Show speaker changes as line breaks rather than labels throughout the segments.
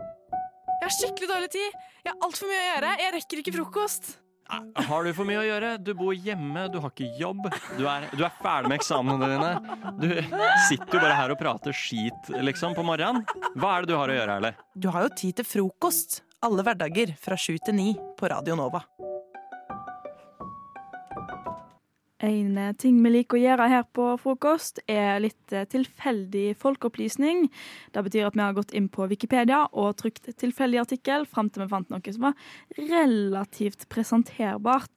Jeg har skikkelig dårlig tid. Jeg har altfor mye å gjøre. Jeg rekker ikke frokost.
Nei, Har du for mye å gjøre? Du bor hjemme, du har ikke jobb. Du er, du er ferdig med eksamene dine. Du sitter jo bare her og prater skit, liksom, på morgenen. Hva er det du har å gjøre, Erle?
Du har jo tid til frokost alle hverdager fra sju til ni på Radio Nova.
En eh, ting vi liker å gjøre her på frokost, er litt eh, tilfeldig folkeopplysning. Det betyr at vi har gått inn på Wikipedia og trykt tilfeldig artikkel fram til vi fant noe som var relativt presenterbart.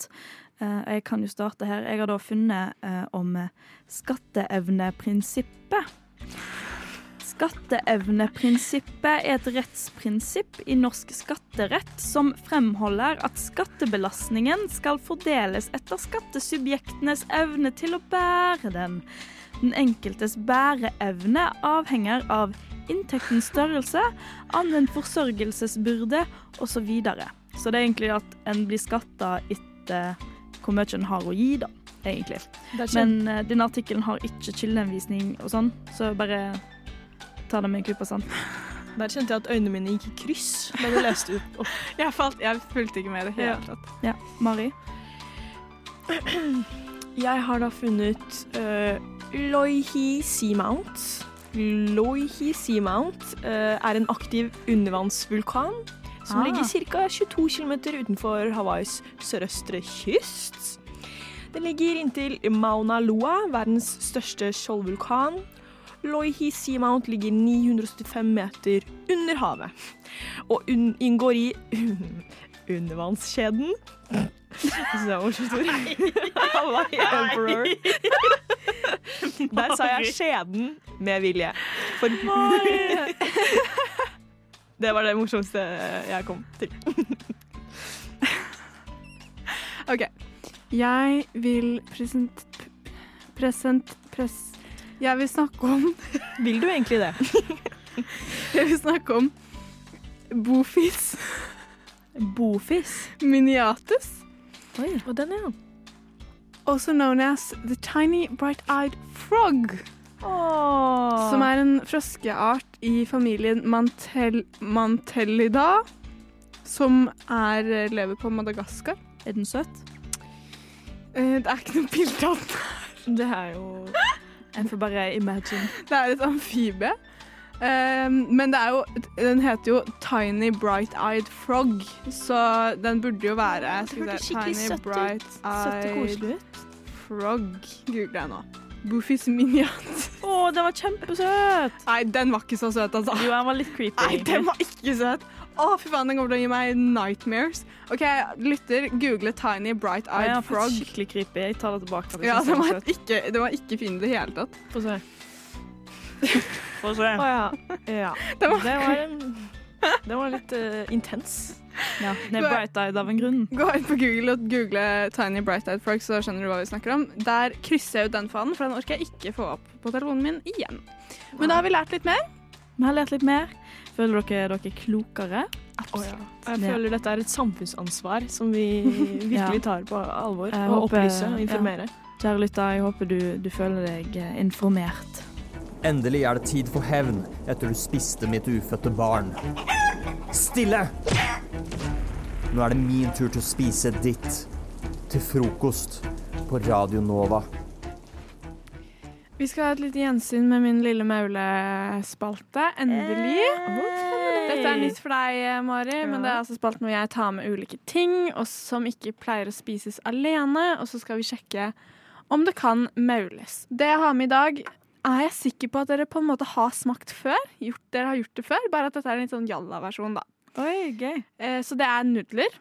Eh, Jeg kan jo starte her. Jeg har da funnet eh, om eh, skatteevneprinsippet. Skatteevneprinsippet er et rettsprinsipp i norsk skatterett som fremholder at skattebelastningen skal fordeles etter skattesubjektenes evne til å bære den. Den enkeltes bæreevne avhenger av inntektens størrelse, anvendt forsørgelsesbyrde osv. Så, videre. så det er egentlig at en blir skatta etter hvor mye en har å gi, da. Egentlig. Men eh, denne artikkelen har ikke kildeanvisning og sånn, så bare ta det med en klype sand.
Der kjente jeg at øynene mine gikk i kryss da du leste ut. opp.
Jeg, falt, jeg fulgte ikke med i det hele
Ja.
tatt.
Ja, Mari.
Jeg har da funnet uh, Loihi Seamount. Loihi Seamount eh, er en aktiv undervannsvulkan som
Ah.
ligger ca. 22 km utenfor Hawais sørøstre kyst. Den ligger inntil Mauna Loa, verdens største skjoldvulkan. Loihi Seamount ligger 975 meter under havet og unn- inngår i undervannskjeden. Jeg synes det var morsomt ord. Hawaii Emperor. Der sa jeg 'skjeden' med vilje. For Det var det morsomste jeg kom til.
OK. Jeg vil present... p- Present... Press... Jeg vil snakke om
Vil du egentlig det?
Jeg vil snakke om bofis.
Bofis.
Miniatus.
Oi.
Og den, ja.
Also known as the tiny bright-eyed frog.
Åh.
Som er en froskeart i familien Mantel Mantellida. Som er, eh, lever på Madagaskar.
Er den søt?
Eh, Det er ikke noe bilde av den.
Det er jo
En får bare imagine.
Det er et amfibie. Eh, men det er jo, den heter jo Tiny Bright Eyed Frog, så den burde jo være
Det hørtes skikkelig
Tiny
søtt ut.
Bright
søtt og
Eyed
koselig ut.
Frog. Googler jeg nå. Boofys miniat.
Å, den var kjempesøt!
Nei, den var ikke så søt, altså.
Jo, den var litt creepy.
Nei, den
egentlig.
var ikke søt. Å, fy faen, den kommer til å gi meg nightmares. OK, lytter, google Tiny Bright
Nei,
Eyed
den var
Frog.
faktisk Skikkelig creepy. Jeg tar det tilbake. for jeg
Ja,
synes
den
den
var
søt.
ikke, den var ikke fin i det hele tatt.
Få se. Få se.
Å ja. ja.
Det
Det
var-
var, en- det var litt eh, intens.
Ja, den er bright-eyed av en grunn.
Gå inn på Google og google Tiny Bright Eyed Frog, så skjønner du hva vi snakker om. Der krysser jeg ut den fanen, for den orker jeg ikke få opp på telefonen min igjen. Men da har vi lært litt mer.
Vi har lært litt mer. Føler dere dere er klokere?
Jeg
Ja.
føler dette er et samfunnsansvar som vi virkelig tar på alvor.
Jeg
Og
håper-
opplyse og informere.
Kjære lytter, jeg håper du, du føler deg eh, informert.
Endelig er det tid for hevn etter du spiste mitt ufødte barn. Stille! Nå er det min tur til å spise ditt. Til frokost på Radio Nova.
Vi skal ha et lite gjensyn med min lille maulespalte. Endelig.
Eh.
Dette er nytt for deg, eh, Mari, men det er altså spalten hvor jeg tar med ulike ting og som ikke pleier å spises alene, og så skal vi sjekke om det kan maules. Det jeg har med i dag, er jeg sikker på at dere på en måte har smakt før. Gjort, dere har gjort det før, bare at dette er en litt sånn jalla-versjon, da.
Oi, gøy.
Eh, Så det er nudler.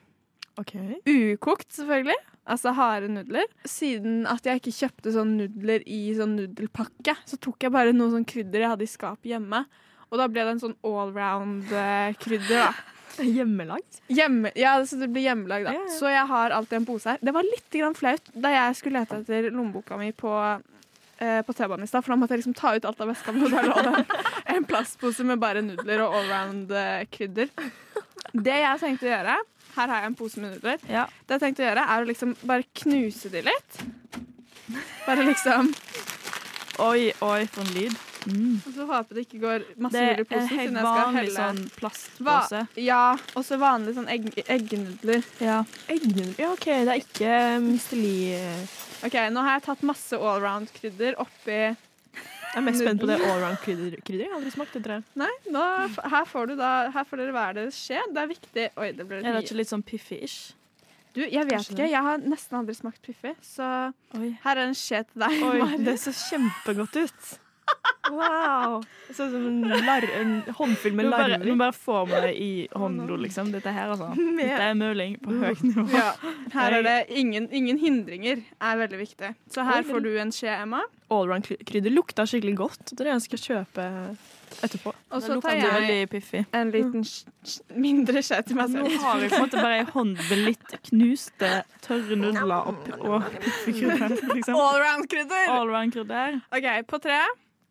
Ukokt, selvfølgelig. Altså harde nudler. Siden at jeg ikke kjøpte sånn nudler i sånn nudelpakke, så tok jeg bare noe sånn krydder jeg hadde i skapet hjemme. Og da ble det en sånn allround-krydder, da.
Hjemmelagd.
Hjemme, ja, så det blir hjemmelag, da.
Ja, ja.
Så jeg har alltid en pose her. Det var litt grann flaut da jeg skulle lete etter lommeboka mi på, eh, på T-banen i stad, for da måtte jeg liksom ta ut alt av veska mi, og der lå det en- en plastpose med bare nudler og eh, allround-krydder. Det jeg tenkte å gjøre Her har jeg en pose med nudler.
Ja.
Det jeg tenkte å gjøre, er å liksom bare knuse de litt. Bare liksom
Oi, oi, for en lyd. Mm.
Og så håper jeg det ikke går masse
Det
hull i
er
posen, siden
helt
jeg skal
vanlig
helle
sånn
Va
plastpose.
Ja, og så vanlig sånn egg eggnudler.
Ja.
Eggnudler Ja, OK, det er ikke misteli... Jeg
OK, nå har jeg tatt masse allround-krydder oppi
er mest spent på det allround-krydderet. Jeg har aldri smakt det, tror jeg.
Nei, nå, her får du da Her får dere hver deres skje. Det er viktig Oi, det ble
Er det
litt mye.
ikke litt sånn piffy-ish?
Du, jeg vet
Kanskje
ikke.
det.
Jeg har nesten aldri smakt Piffi, så
Oi.
her er en skje til deg.
Oi,
Mari.
det ser kjempegodt ut. Wow. Det ser ut som en, lar en håndfull med
Nå bare, nå
larver.
bare får vi det i hånda, liksom. Dette her, altså. Dette er mauling på høyt nivå.
Mm. Ja, her er det ingen, ingen hindringer. er veldig viktig. Så her
Oi,
får du en skje, Emma.
Allround-krydder lukta skikkelig godt. Det tror jeg jeg skal kjøpe etterpå.
Og
Det
så
lukter
tar jeg
veldig piffig.
en liten sk- sk- mindre skje til meg
Nå
selv.
har jeg på en måte bare ei hånd med litt knuste, tørre nudler opp og piffekrydder. Liksom.
Allround-krydder!
Allround-krydder.
OK, på tre.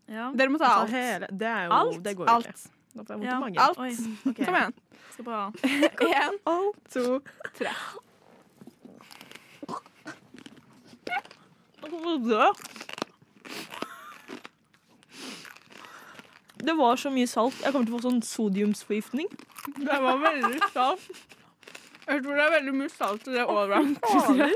Ja.
Dere må ta alt.
Altså, det er jo
Alt?
Det går jo
Alt.
ikke. Da får jeg vondt
Ja.
i magen.
Alt.
Oi,
Kom igjen.
så bra.
Én, to, tre.
Det var så mye salt. Jeg kommer til å få sånn sodiumsforgiftning.
Det var veldig salt. Jeg tror det er veldig mye salt i det allround.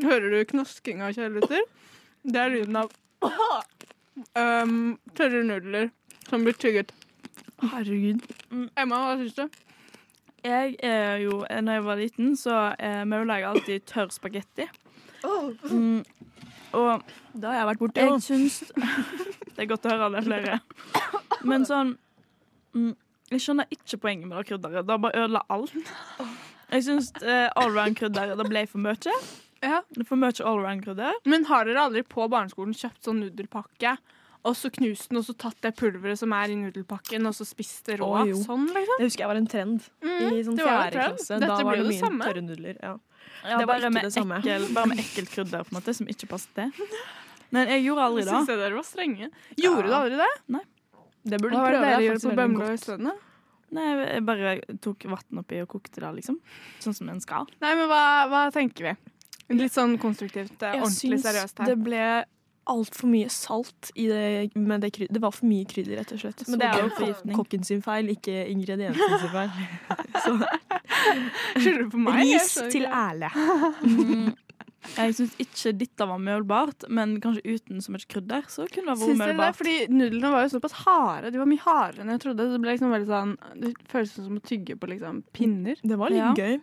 Hører du knosking av kjærligheter? Det er lyden av um, tørre nudler som blir tygget.
Herregud.
Emma, hva syns du?
Mm. Jeg er jo, eh, når jeg var liten, så eh, maula jeg alltid tørr spagetti. Mm, og
Det har jeg vært borti.
jeg syns Det er godt å høre det er flere. Men sånn mm, Jeg skjønner ikke poenget med det krydderet. Det bare ødela alt. Jeg syns eh, allround-krydderet det ble for mye.
Ja.
Det er For mye allround-krydder.
Men har dere aldri på barneskolen kjøpt sånn nudelpakke? Og så knust den, og så tatt det pulveret som er i nudelpakken, og så spist det rå?
Å, jo.
sånn, liksom.
Jeg husker jeg var en trend i sånn
det var en
fjerde
trend.
klasse.
Dette
da
blir
var
jo
det
det
mye
samme.
tørre nudler. Ja.
Ja,
Det var
bare
ikke
med
det samme.
Ekkel, bare med ekkelt krydder på en måte, som ikke passet til. Men jeg gjorde aldri det.
Syns jeg dere var strenge. Gjorde du aldri det?
Det
Hva
burde
var det
du
dere
prøve. Det er
gjorde
faktisk
på
veldig
Bømlo
godt.
i stedet?
Nei, jeg bare tok vann oppi og kokte det, liksom. Sånn som en skal.
Nei, men hva, hva tenker vi? Litt sånn konstruktivt, eh,
Jeg
ordentlig
syns
seriøst her.
det ble altfor mye salt i det, med det krydder. Det var for mye krydder, rett og slett. Men det er jo
Sodiumforgiftning.
kokken sin feil, ikke ingrediensene sin feil.
Skylder du på meg? Jeg
Ris
skjønner ikke.
til æle.
Mm. Jeg syns ikke dette var mølbart, men kanskje uten så mye krydder, så kunne det vært
Syns dere det?
mølbart.
Fordi nudlene var jo såpass harde. De var mye hardere enn jeg trodde. Så det ble liksom veldig sånn Det føles som å tygge på liksom pinner.
Det var litt
Ja.
gøy.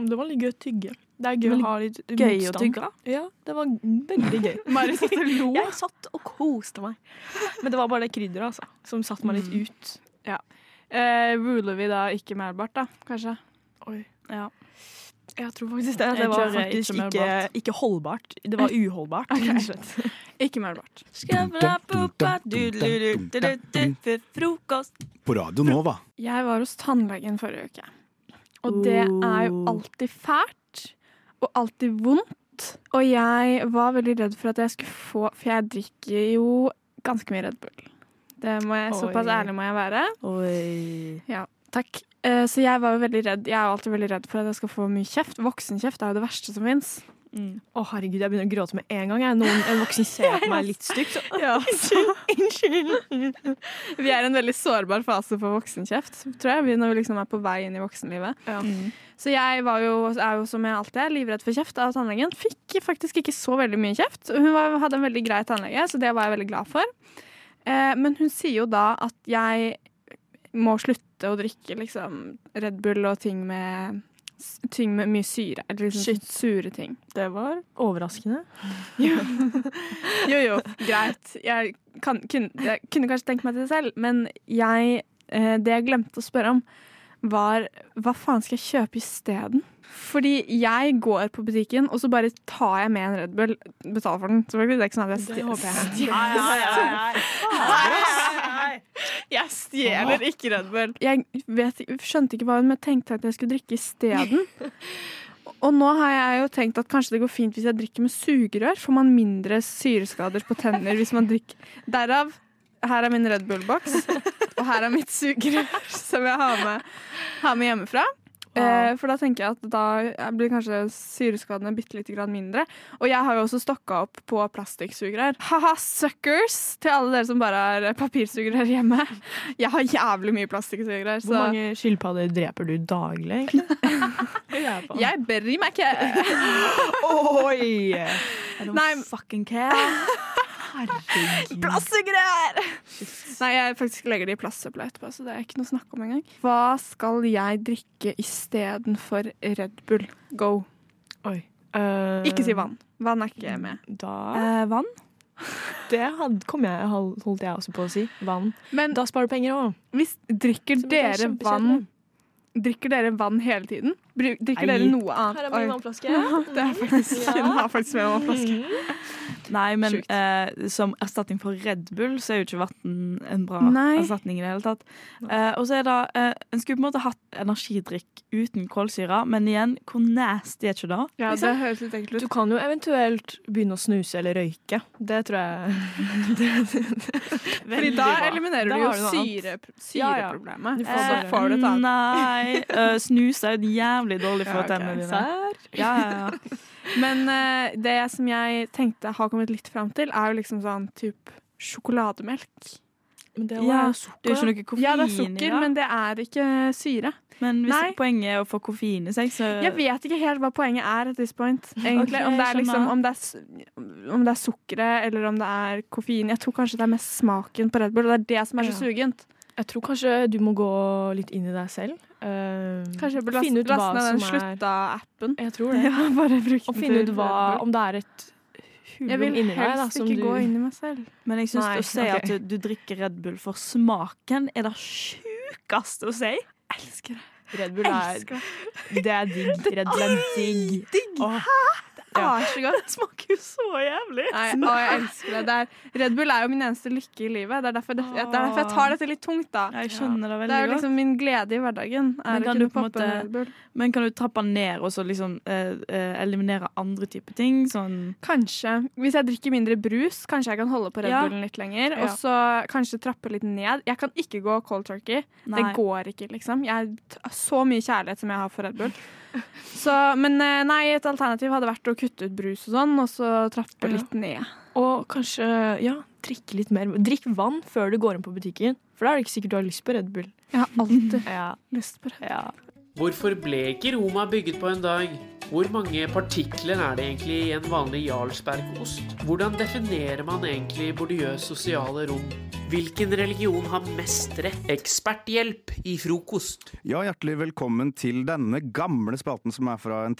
Det var litt gøy å tygge. Det er gøy
Men
å ha litt
Gøy å
motstand.
tygge.
Ja, det var veldig gøy.
Mari satt og lo.
Jeg satt og koste meg. Men det var bare det krydderet altså, som satte meg litt ut.
Mm. Eh, ruler vi da ikke melbart, da? Kanskje? Oi.
Ja.
Jeg tror
Det,
faktisk det.
det var
tror jeg
faktisk
ikke
ikke,
mølbart.
ikke holdbart. Det var uholdbart. rett og slett.
Ikke melbart.
Frokost.
På Radio Nova.
Jeg var hos tannlegen forrige uke. Og det er jo alltid fælt. Og alltid vondt. Og jeg var veldig redd for at jeg skulle få For jeg drikker jo ganske mye Red Bull. Det må jeg, såpass
Oi.
ærlig må jeg være.
Oi.
Takk. Eh, Så jeg var jo veldig redd. Jeg er jo alltid veldig redd for at jeg skal få mye kjeft. Voksenkjeft er jo det verste som fins.
Mm.
Å, herregud, jeg begynner å gråte med en gang. Jeg. Noen, en voksen ser på meg litt stygt. Så,
Vi er i en veldig sårbar fase for voksenkjeft, tror jeg. vi- Når vi liksom er på vei inn i voksenlivet.
Mm.
Så jeg var jo, er jo som jeg alltid er, livredd for kjeft av tannlegen. Fikk faktisk ikke så veldig mye kjeft. Hun var, hadde en veldig grei tannlege, så det var jeg veldig glad for. Eh, men hun sier jo da at jeg må slutte å drikke liksom Red Bull og ting med, ting med mye syre. Eller liksom
Shit.
sure ting.
det var overraskende.
Jo, jo, greit. Jeg, kan, kunne, jeg kunne kanskje tenkt meg til det selv, men jeg, eh, det jeg glemte å spørre om, var hva faen skal jeg kjøpe isteden? Fordi jeg går på butikken, og så bare tar jeg med en Red Bull. Betaler for den, selvfølgelig. Det er ikke sånn at jeg stjeler. Jeg stjeler ikke Red Bull. Jeg vet, ikke- skjønte ikke hva hun tenkte at jeg skulle drikke isteden. Og nå har jeg jo tenkt at kanskje det går fint hvis jeg drikker med sugerør. Får man mindre syreskader på tenner hvis man drikker Derav, her er min Red Bull-boks, og her er mitt sugerør som jeg har med, har med hjemmefra. Eh, for da tenker jeg at da blir kanskje syreskadene bitte lite grann mindre. Og jeg har jo også stokka opp på plastikksugerør. Haha, suckers! Til alle dere som bare har papirsugerør hjemme. Jeg har jævlig mye plastikksugerør,
Hvor
så
mange skilpadder dreper du daglig, egentlig?
jeg bryr meg ikke.
Oi!
I don't
Nei,
fucking care.
Herregud.
Plastsugerør! Nei, jeg faktisk legger det i plastsøpla etterpå, så det er ikke noe å snakke om engang. Hva skal jeg drikke istedenfor Red Bull? Go.
Oi. Eh,
Ikke si vann. Vann er ikke med.
Da,
Eh, vann?
det hadde, kom jeg, hold- holdt jeg også på å si. Vann.
Men
Da sparer du penger òg.
hvis drikker dere vann Drikker dere vann hele tiden? Bru- Drikker
Nei.
dere noe annet?
Her er
Oi.
min vannflaske.
Det er faktisk,
Ja.
Den har faktisk med vannflaske.
Mm.
Nei, men
Sjukt.
eh, som erstatning for Red Bull, så er jo ikke vann en bra
Nei.
erstatning i det hele tatt. Eh, og så er det eh, En skulle på en måte hatt energidrikk uten kålsyre, men igjen, hvor nasty er ikke det?
Ja, det høres litt enkelt
Du
ut.
kan jo eventuelt begynne å snuse eller røyke. Det tror jeg
Fordi da eliminerer
Da
du jo
har du noe
syre,
Ja, ja.
syreproblemet. Eh,
Du får
Og så
bare-
får du et annet.
Nei. eh, snus er jo jævlig dårlig for
Ja, ok.
tennene dine.
Serr?
Ja, ja, ja.
Men eh, det som jeg tenkte har kommet litt fram til, er jo liksom sånn typ sjokolademelk.
Men det
Ja,
var
Det er jo
sukker.
ikke noe koffein
Ja, det er
i
sukker,
det. Men,
men det er ikke syre.
hvis
Nei.
poenget er å få koffein i seg, så
Jeg vet ikke helt hva poenget er at this point. Egentlig,
Ok,
om, det er
skjønner.
liksom, om, det er, s- om det er sukkeret eller om det er koffein. Jeg tror kanskje det er mest smaken på Red Bull, og det er det som er så
Ja.
sugent.
Jeg tror kanskje du må gå litt inn i deg selv. Eh,
Kanskje jeg burde
finne
laste,
ut hva
laste ned den
som er-
slutta-appen.
Jeg tror det.
Ja, bare bruke
Og
den
finne ut
til
hva,
Red Bull.
om det er et
Jeg
hulrom
vil
inni deg. Da,
helst
som
ikke
du,
gå inn i meg selv.
men jeg syns
Nei,
å si
ok.
at du, du drikker Red Bull for smaken, er det sjukeste å si.
Elsker det.
Red Bull er,
Elsker det.
det er digg. Red Bull er digg. Åh,
Ah,
Ja.
så godt.
Det smaker jo så jævlig.
Nei, å, jeg elsker det. det er, Red Bull er jo min eneste lykke i livet. Det er derfor, det, det er derfor jeg tar dette litt tungt, da.
Jeg skjønner det
Det
veldig
er jo
godt.
liksom min glede i hverdagen.
Men
Er
kan
å
du
kunne
på en
poppe en
måte-
Red Bull.
Men kan du trappe ned og så liksom eh, eh, eliminere andre typer ting? Sånn
Kanskje. Hvis jeg drikker mindre brus, kanskje jeg kan holde på Red
Ja.
Bullen litt lenger.
Ja.
Og så kanskje trappe litt ned. Jeg kan ikke gå cold turkey.
Nei.
Det går ikke, liksom. Jeg har så mye kjærlighet som jeg har for Red Bull. Så, men eh, nei, et alternativ hadde vært å kutte ut brus og sånn, og så trappe
Ja.
litt ned.
Og kanskje ja, drikke litt mer. Drikk vann før du går inn på butikken, for da er det ikke sikkert du har lyst på Red Bull.
Jeg har alltid
Ja,
lyst på Red Bull.
ja.
Hvorfor ble ikke Roma bygget på en dag? Hvor mange partikler er det egentlig i en vanlig Jarlsbergost? Hvordan definerer man egentlig Bourdieu's sosiale rom? Hvilken religion har mest rett? Eksperthjelp i frokost.
Ja, hjertelig velkommen til denne gamle spalten som er fra en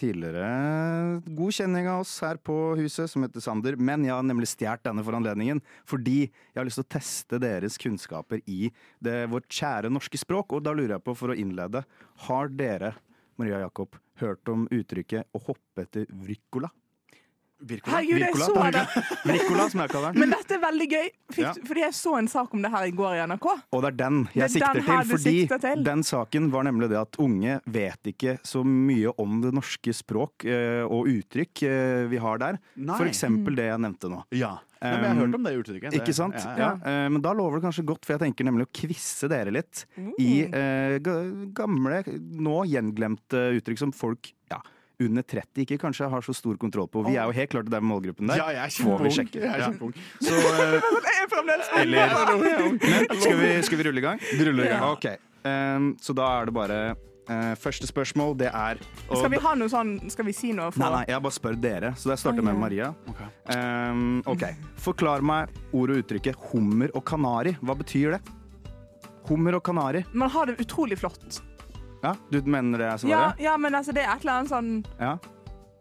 tidligere god kjenning av oss her på huset, som heter Sander. Men jeg har nemlig stjålet denne for anledningen, fordi jeg har lyst til å teste deres kunnskaper i det, vårt kjære norske språk. Og da lurer jeg på, for å innlede, har dere, Maria Jakob, hørt om uttrykket 'å hoppe etter vrikkola'? Virkola?
Herregud, jeg så det!
Vrikkola, som jeg kaller den.
Men dette er veldig gøy, fikk,
Ja.
fordi jeg så en sak om det her i går i NRK.
Og det er den
Det er
jeg sikter
den her
til,
du
fordi
sikter til.
den saken var nemlig det at unge vet ikke så mye om det norske språk eh, og uttrykk eh, vi har der.
Nei.
For eksempel det jeg nevnte nå.
Ja. Nei, men jeg har hørt om det uttrykket. Det-
Ikke sant?
Ja,
Ja,
ja.
eh, Men da lover det kanskje godt, for jeg tenker nemlig å kvisse dere litt
Mm.
i eh, ga- gamle, nå gjenglemte uttrykk som folk ja, under 30 ikke kanskje har så stor kontroll på. Vi er jo helt klart i den målgruppen der.
Ja, jeg er
Får vi
kjempeung.
sjekke?
Jeg er
Ja.
kjempeung.
Så, eh,
Jeg er fremdeles ung!
eller Men skal vi, skal vi rulle i gang?
Vi ruller i gang.
Ok, ehm, så da er det bare eh, Første spørsmål, det er og,
Skal vi ha noe sånn Skal vi si noe for
Nei, nei, jeg bare spør dere, så jeg starter med Maria.
Ok.
Ehm, ok, Forklar meg ordet og uttrykket hummer og kanari. Hva betyr det? Hummer og kanari.
Man har det utrolig flott.
Ja, Du mener det er
Ja,
svaret?
ja, men altså, det er et eller annet sånn
Ja.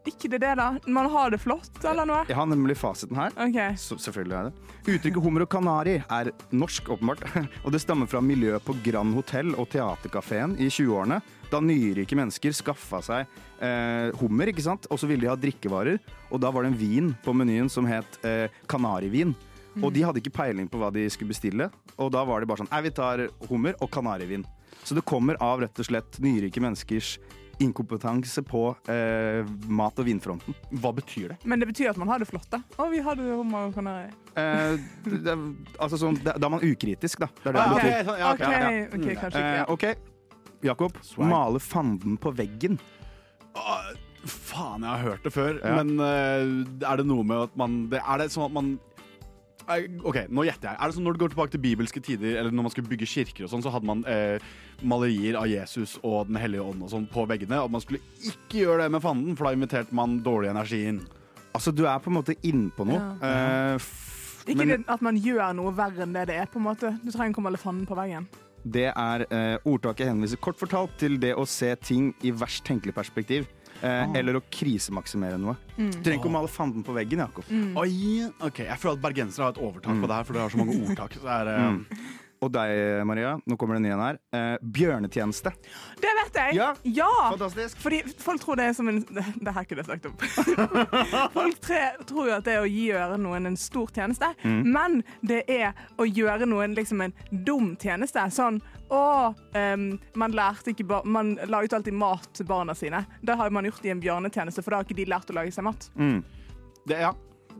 Ikke det, det, da. Man har det flott, eller noe?
Jeg har nemlig fasiten her.
OK.
Så, selvfølgelig er det. Uttrykket hummer og kanari er norsk, åpenbart, og det stammer fra miljøet på Grand Hotel og Theatercaféen i 20-årene, da nyrike mennesker skaffa seg eh, hummer, ikke sant, og så ville de ha drikkevarer, og da var det en vin på menyen som het eh, kanarivin. Og de hadde ikke peiling på hva de skulle bestille, og da var det bare sånn Nei, vi tar hummer og kanarivin. Så det kommer av rett og slett nyrike menneskers inkompetanse på eh, mat- og vinfronten.
Hva betyr det?
Men det betyr at man har det flott, da. Å, vi har det hummer og kanari.
Eh, det, det, altså sånn, da da er man ukritisk, da. Det er det
Ah,
det
ok,
betyr.
sånn, ja,
OK,
ok.
ok, kanskje ikke.
Eh,
Ja.
ok, Jakob, male fanden på veggen.
Ah, Faen, jeg har hørt det før. Men eh, er det noe med at man det, Er det sånn at man Eh, OK, nå gjetter jeg. Er det sånn Når du går tilbake til bibelske tider, eller når man skulle bygge kirker, og sånn, så hadde man eh, malerier av Jesus og Den hellige ånd og sånn på veggene. Og man skulle ikke gjøre det med fanden, for da inviterte man dårlig energi inn.
Altså, du er på en måte innpå
noe. Ja.
Eh,
Ikke
Men-
det at man gjør noe verre enn det det er. på en måte. Du trenger ikke å male fanden på veggen.
Det er eh, ordtaket henviser kort fortalt til det å se ting i verst tenkelig perspektiv. eh,
Ah.
Eller å krisemaksimere noe.
Mm.
Du trenger ikke å male fanden på veggen, Jakob.
Mm.
Oi, ok, Jeg føler at bergensere har et overtak på det her, for dere har så mange ordtak. Så det er, eh,
Mm. Og deg, Maria. Nå kommer det en ny en her. Eh, bjørnetjeneste.
Det vet jeg!
Ja.
Fantastisk. Fordi folk tror det er som en Det det her kunne jeg snakket om. folk tre, tror jo at det er å gjøre noen en stor tjeneste,
Mm.
men det er å gjøre noen liksom en dum tjeneste. Sånn å, ehm, man lærte ikke bar Man la ut alltid mat til barna sine. Det har man gjort i en bjørnetjeneste, for da har ikke de lært å lage seg mat.
Mm.
Det, ja.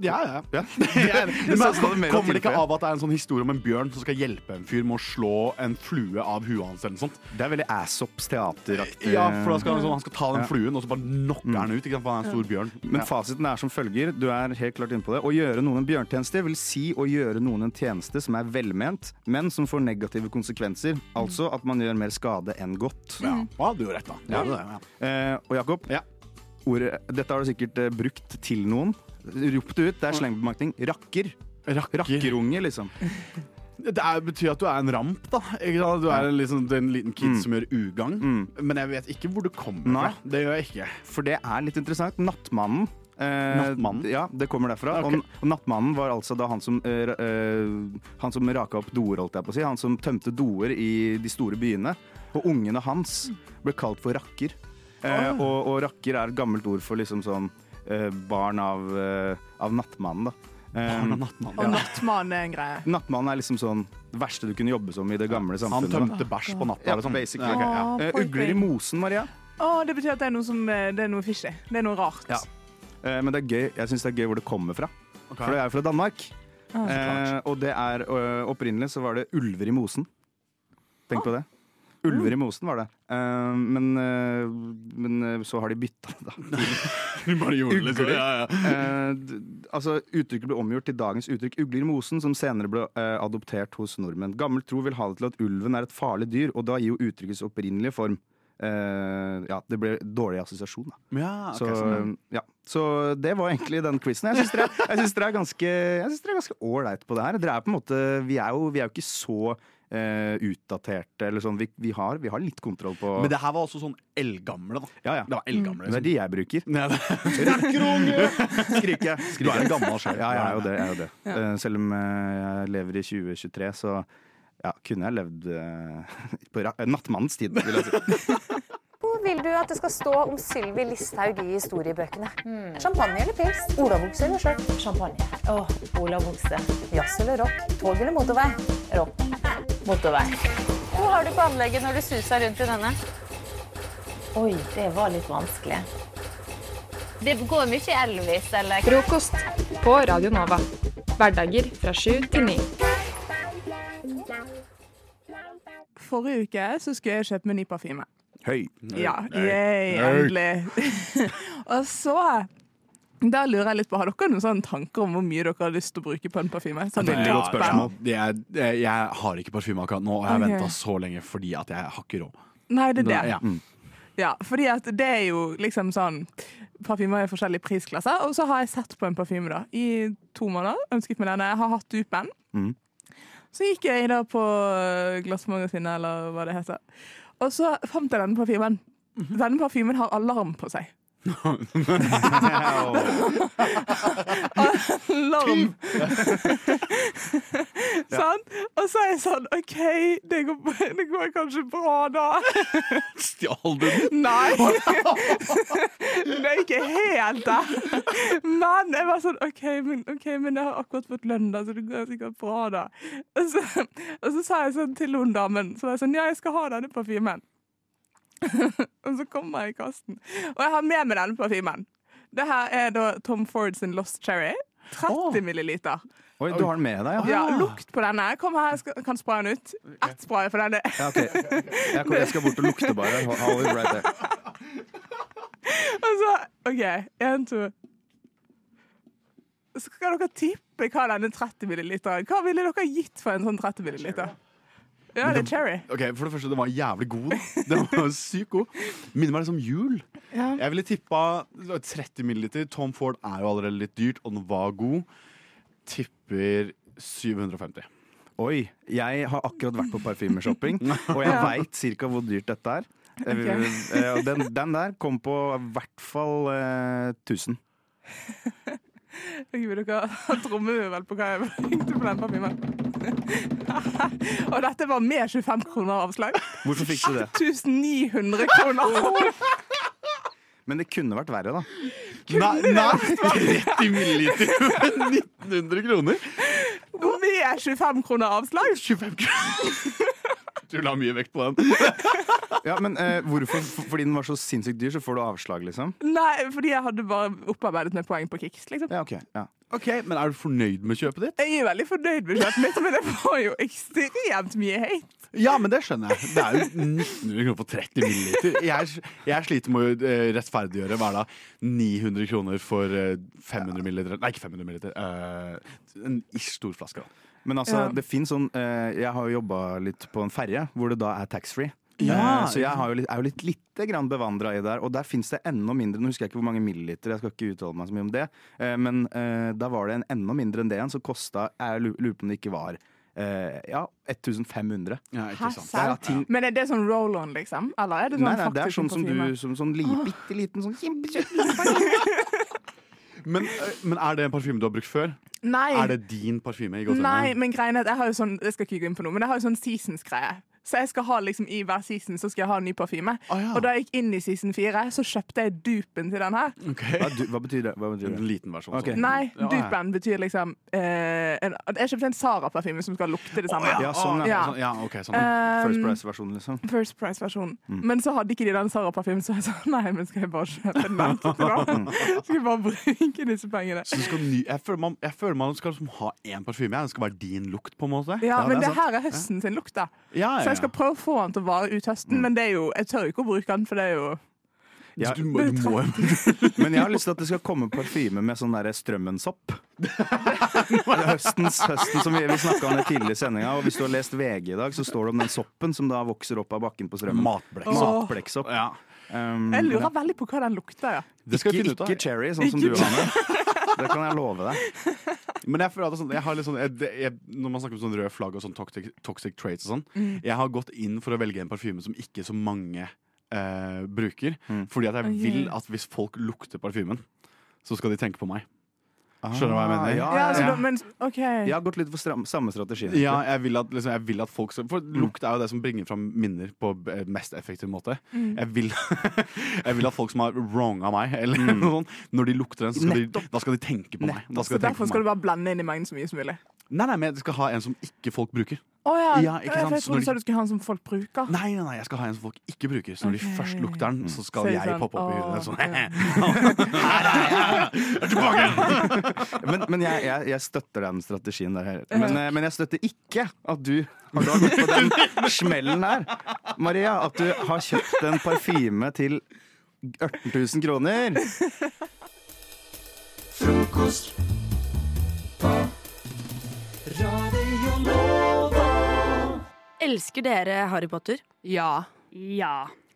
Ja, ja. ja.
det sånn
Men
samme mer å
kommer det ikke
tilføye.
av at det er en sånn historie om en bjørn som skal hjelpe en fyr med å slå en flue av huet hans? eller noe sånt?
Det er veldig Assops teateraktig.
Ja, for da skal han, sånn, han skal ta den
Ja. Mm.
fluen, og så bare knocker han ut. Ikke sant? For han er en stor bjørn.
Men fasiten er som følger. Du er helt klart inne på det. Å gjøre noen en bjørntjeneste vil si å gjøre noen en tjeneste som er velment, men som får negative konsekvenser. Altså at man gjør mer skade enn godt.
Ja, Mm. ja du har rett, da. Du har
Ja.
det, ja.
Eh, og Jakob, ordet, dette har du sikkert eh, brukt til noen. Rop det ut. Det er slengbemerkning. Rakker. Rakkerunge, liksom.
Det er, betyr at du er en ramp, da. Ikke sant? Du er en, liksom, det er en liten
Mm.
kid som gjør ugagn. Men jeg vet ikke hvor du kommer
Nei.
fra. Det gjør jeg ikke.
For det er litt interessant. Nattmannen. eh,
Nattmannen?
Ja, det kommer derfra.
Ja, ok.
Og, og Nattmannen var altså da han som, eh, ra- eh, han som raka opp doer, holdt jeg på å si. Han som tømte doer i de store byene. Og ungene hans ble kalt for rakker.
Ah.
Eh, og, og rakker er et gammelt ord for liksom sånn eh, barn av, eh, av nattmannen, da. barn av
Og nattmannen er en greie.
Nattmannen er liksom sånn det verste du kunne jobbe som i det gamle
Han
samfunnet.
tømte
da.
bæsj på natta.
Ja,
eller sånn.
basically.
Ja, ok, ja.
Å,
Eh,
poor
ugler i
thing.
mosen, Maria.
Å, det betyr at det er noe, som, eh, det er noe fishy. Det er noe rart.
Ja. Eh, men det er gøy. jeg syns det er gøy hvor det kommer fra. For det er jo fra Danmark.
Ah.
Eh, og det er ø, opprinnelig så var det ulver i mosen. Tenk på det. Ulver i mosen var det. Eh, men, eh, men eh, så har de bytta det, da.
Hun bare gjorde det, liksom.
Ugler.
Ja, ja.
Eh, d- altså, uttrykket ble omgjort til dagens uttrykk 'ugler i mosen', som senere ble eh, adoptert hos nordmenn. Gammel tro vil ha det til at ulven er et farlig dyr, og da gir jo uttrykkets opprinnelige form eh, Ja, det ble dårlig assosiasjon, da.
Ja,
Så, um,
ok, sånn,
ja. så det var egentlig den quizen. Jeg syns dere, jeg synes dere er ganske Jeg synes dere er ganske ålreit på det her. Dere er på en måte, vi, er jo, vi er jo ikke så eh, utdaterte. Eller sånn. vi, vi, har, vi har litt kontroll på
Men det her var også sånn eldgamle, da.
ja, ja.
Det var eldgamle.
Det er de jeg bruker. Skriker jeg.
Du er en gammel sjel.
Ja, jeg er jo det. Jeg er jo det.
Ja.
Eh, Selv om eh, jeg lever i 2023, så ja, kunne jeg levd eh, på ra- nattmannens tid, vil jeg si.
Hvor vil du at det skal stå om Sylvi Listhaug i historiebøkene? Champagne eller pils? Olavokse eller skjørt? Champagne. Åh, olavokse. Jazz eller rock? Tog eller motorvei? Rock. Motorvei. Hvor har du på anlegget når du suser rundt i denne? Oi, det var litt vanskelig. Det går mye Elvis eller
Frokost på Radio Nova. Hverdager fra sju til ni.
Forrige uke så skulle jeg kjøpe meg ny parfyme.
Høy.
Ja, yay, endelig. og så da lurer jeg litt på, Har dere noen sånne tanker om hvor mye dere har lyst til å bruke på en parfyme? Sånn
Ja,
toppen.
ja. Jeg, jeg, jeg har ikke parfyme akkurat nå, og jeg har
Ok.
ventet venta så lenge fordi at jeg har ikke råd.
Nei, det er det.
Ja. Mm.
Ja, fordi at det er jo liksom sånn Parfymer er i forskjellige prisklasser. Og så har jeg sett på en parfyme da i to måneder. Ønsket meg denne. Jeg har hatt dupen.
Mm.
Så gikk jeg da på øh, Glassmagasinet, eller hva det heter. Og så fant jeg denne parfymen. Denne parfymen har alarm på seg. alarm! sånn. Og så er jeg sånn OK, det går, det går kanskje bra da.
Stjal du den?
Nei! det er ikke helt der. Men jeg var sånn OK, men, ok, men jeg har akkurat fått lønn, da, så det går sikkert bra, da. Og så, og så sa jeg sånn til hun damen, så var jeg sånn Ja, jeg skal ha denne parfymen. og så kommer jeg i kassen. Og jeg har med meg denne parfymen. Det her er da Tom Ford sin Lost Cherry. 30 milliliter.
Oi, du har den med deg, ja.
Ja, lukt på denne. Kom her, jeg skal, kan spraye den ut. Ett spray for denne.
Ja, ok. Jeg, kommer, jeg skal bort og lukte bare. I'll be right there.
Og så, Altså, OK, én, to Så kan dere tippe hva denne 30 milliliteren Hva ville dere gitt for en sånn 30 milliliter? Ja,
Men
det er
det-
cherry.
Ok, For det første, den var jævlig god. da. Den var jo sykt god. Minner meg litt om jul.
Ja.
Jeg ville tippa 30 milliliter. Tom Ford er jo allerede litt dyrt, og den var god. Tipper 750.
Oi, jeg har akkurat vært på parfymeshopping, og jeg
Ja.
veit cirka hvor dyrt dette er. Eh,
Ok.
eh, og Den, den der kom på i hvert fall eh, 1000.
Jeg vil dere ha trommevirvel på hva jeg tenkte på den parfymen. Og dette var med 25 kroner avslag.
Hvorfor fikk du det?
1900 kroner.
Men det kunne vært verre, da.
Kunne
nei,
det vært
30 milliliter med 1900 kroner!
Med 25 kroner avslag.
25 Du la mye vekt på den.
Ja, men eh, hvorfor? F- Fordi den var så sinnssykt dyr, så får du avslag, liksom?
Nei, fordi jeg hadde bare opparbeidet meg poeng på Kicks. Liksom.
Ja, ok. Ja.
Ok, Men er du fornøyd med kjøpet ditt?
Jeg er veldig fornøyd med kjøpet mitt, men det får jo ekstremt mye hate.
Ja, men det skjønner jeg. Det er jo 1900 kroner for 30 milliliter. Jeg, jeg sliter med å eh, rettferdiggjøre hva er da 900 kroner for eh, 500 milliliter. Nei, ikke 500 milliliter. eh, en ish stor flaske. da.
Men altså,
Ja.
det finnes sånn eh, Jeg har jo jobba litt på en ferje, hvor det da er taxfree.
Ja,
Eh, så jeg har jo litt, er jo litt lite grann bevandra i det der, og der fins det enda mindre. Nå husker jeg ikke hvor mange milliliter, jeg skal ikke uttale meg så mye om det, eh, men eh, da var det en enda mindre enn det igjen, som kosta Jeg lu- lurer på om det ikke var eh, ja, 1500.
Ja,
Hæ,
Det er
sant?
ting
Men er det sånn roll-on, liksom? Eller er det sånn
Nei, nei, det er
faktisk
sånn som du
parfyme?
som, Sånn li, bitte liten sånn
Men, eh, men er det en parfyme du har brukt før?
Nei.
Er det din parfyme? i gåseøynene?
Nei, men greien er at jeg har jo sånn Jeg skal ikke gå inn på noe, men jeg har jo sånn seasons-greie. Så jeg skal ha liksom i hver season så skal jeg ha en ny parfyme. Og da jeg gikk inn i season fire, så kjøpte jeg dupen til den her.
hva, du, hva betyr det? Hva betyr det?
En liten versjon. sånn.
Ok.
Nei,
Ja, ja.
dupen betyr liksom eh, en, Jeg kjøpte en Sara-parfyme som skal lukte det samme.
Ja, sånn, ja.
Ja.
Sånn, ja ok, sånn.
Um,
First Price-versjonen, liksom.
First Price-versjonen.
Mm.
Men så hadde ikke de den Sara-parfymen, så jeg sa nei, men skal jeg bare kjøpe den vente til da? Skal jeg bare bruke disse pengene?
Så du skal ny, jeg, føler man, jeg føler man skal liksom ha én parfyme. ja. Den skal være din lukt, på en måte.
Ja, men
det
det
sant.
her er høsten sin lukt, da.
Ja, ja,
Så jeg skal prøve å få den til å vare ut høsten, men det er jo, jeg tør jo ikke å bruke den, for det er jo
Ja.
Du må, du må
Men jeg har lyst til at det skal komme parfyme med sånn derre strømmensopp. Høstens, høsten som vi, vi snakka om det tidligere i sendinga. Og hvis du har lest VG i dag, så står det om den soppen som da vokser opp av bakken på strømmen.
Matblekk.
Åh.
Matblekksopp. Um,
Jeg lurer
ja.
veldig på hva den lukter, ja.
skal jeg
ikke,
finne ut av.
ikke cherry, sånn som
Ikke
du har med. Det kan jeg love deg.
Men jeg føler at det er sånn, jeg har litt sånn jeg, det- jeg, Når man snakker om sånn rød flagg og sånn toxic, toxic traits og sånn
Mm.
Jeg har gått inn for å velge en parfyme som ikke så mange eh, bruker. Fordi at jeg
Ok.
vil at hvis folk lukter parfymen, så skal de tenke på meg. Skjønner du hva jeg
Ah,
mener?
ja,
ja så da, men, OK.
Jeg har gått litt for stram, samme strategi.
Ja, jeg vil at, liksom, jeg vil at folk skal, For lukt er jo det som bringer fram minner på eh, mest effektiv måte.
Mm.
Jeg, vil, jeg vil at folk som har wronga meg, eller noe sånt, når de lukter den, så skal de, da skal de tenke på meg. Da
Så
skal de tenke
derfor
på meg.
skal du bare blande inn i mengden så mye som mulig.
Nei, nei, men jeg skal ha en som ikke folk bruker.
Å ja.
Ja, ikke sant,
for Jeg
så når
trodde du
de-
sa du skulle ha den som folk bruker.
Nei, nei, nei, jeg skal ha en som folk ikke bruker. Så når de
Ok.
først lukter den, så
Så
skal
er det
jeg
sånn,
poppe opp i
åh,
huet. Sånn, her er jeg, jeg er tilbake!
Men, men jeg, jeg, jeg støtter den strategien der. Her. Men, eh, men jeg støtter ikke at du har da gått på den smellen der. Maria, at du har kjøpt en parfyme til 18 000 kroner. Frokost.
Elsker dere Harry Potter? Ja.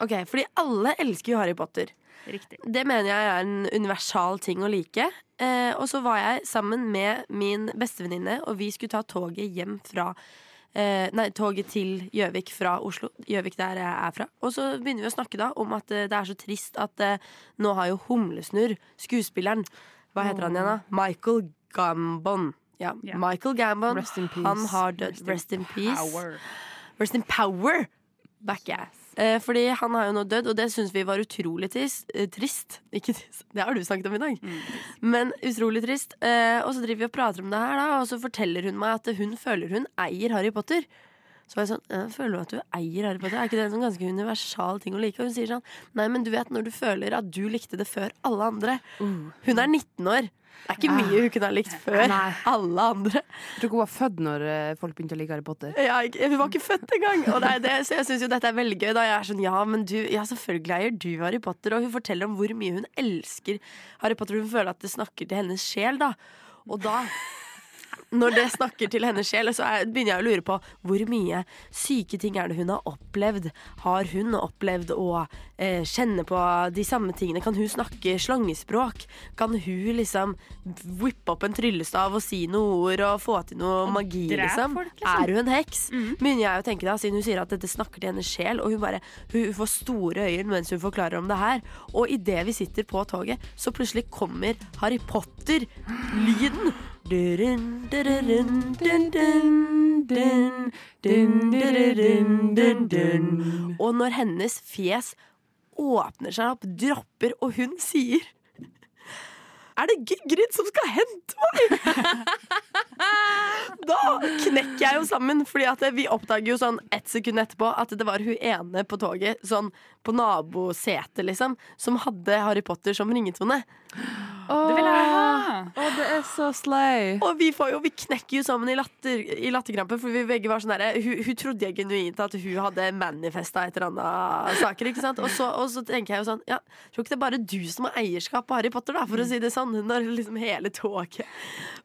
Ok, fordi alle elsker jo Harry Potter.
Riktig.
Det mener jeg er en universal ting å like. Eh, og så var jeg sammen med min bestevenninne, og vi skulle ta toget hjem fra eh, Nei, toget til Gjøvik fra Oslo. Gjøvik der jeg er fra. Og så begynner vi å snakke da om at eh, det er så trist at eh, nå har jo Humlesnurr, skuespilleren Hva heter han igjen,
Mm.
da? Michael Gambon. Ja, Michael Gambon.
Rest in peace.
Han har dødd.
Rest in
Rest in peace.
power.
Rest in power. Back ass. Eh, fordi han har jo nå dødd, og det syns vi var utrolig trist. Eh, trist. Ikke trist, det har du snakket om i dag. Men utrolig trist. Eh, og så driver vi og prater om det her, da, og så forteller hun meg at hun føler hun eier Harry Potter. Så var jeg sånn, jeg føler at du eier arbeidet. Er ikke det en sånn ganske universal ting å like? Og hun sier sånn, nei, men du vet når du føler at du likte det før alle andre. Hun er 19 år. Det er ikke mye hun kunne ha likt før alle andre.
Jeg tror ikke hun var født når eh, folk begynte å like Harry Potter.
Ja, jeg, jeg var ikke født engang! Og det er det, så jeg syns jo dette er veldig gøy. Da. Jeg er sånn, ja, men du, ja, selvfølgelig eier du Harry Potter. Og hun forteller om hvor mye hun elsker Harry Potter. Hun føler at det snakker til hennes sjel, da. Og da når det snakker til hennes sjel, så er, begynner jeg å lure på hvor mye syke ting er det hun har opplevd. Har hun opplevd å eh, kjenne på de samme tingene? Kan hun snakke slangespråk? Kan hun liksom whippe opp en tryllestav og si noen ord og få til noe magi,
drepe
liksom?
folk, liksom.
Er hun en heks? Begynner jeg å tenke da, siden hun sier at dette snakker til hennes sjel, og hun bare hun får store øyne mens hun forklarer om det her. Og idet vi sitter på toget, så plutselig kommer Harry Potter-lyden. Dun, dun, dun, dun, dun, dun, dun, dun, dun. Og når hennes fjes åpner seg opp, dropper, og hun sier Er det Gygrid som skal hente meg?! da knekker jeg jo sammen, Fordi at vi oppdager jo sånn ett sekund etterpå at det var hun ene på toget, sånn på nabosetet, liksom, som hadde Harry Potter som ringetone.
Det vil jeg ha! Å, det er så slay.
Og vi, får jo, vi knekker jo sammen i, latter, i latterkrampe, for vi begge var sånn derre hun, hun trodde jeg genuint at hun hadde manifesta et eller annet saker, ikke sant? Og så, og så tenker jeg jo sånn Ja, tror ikke det er bare du som har eierskap på Harry Potter, da, for å si det sånn. Når liksom hele toget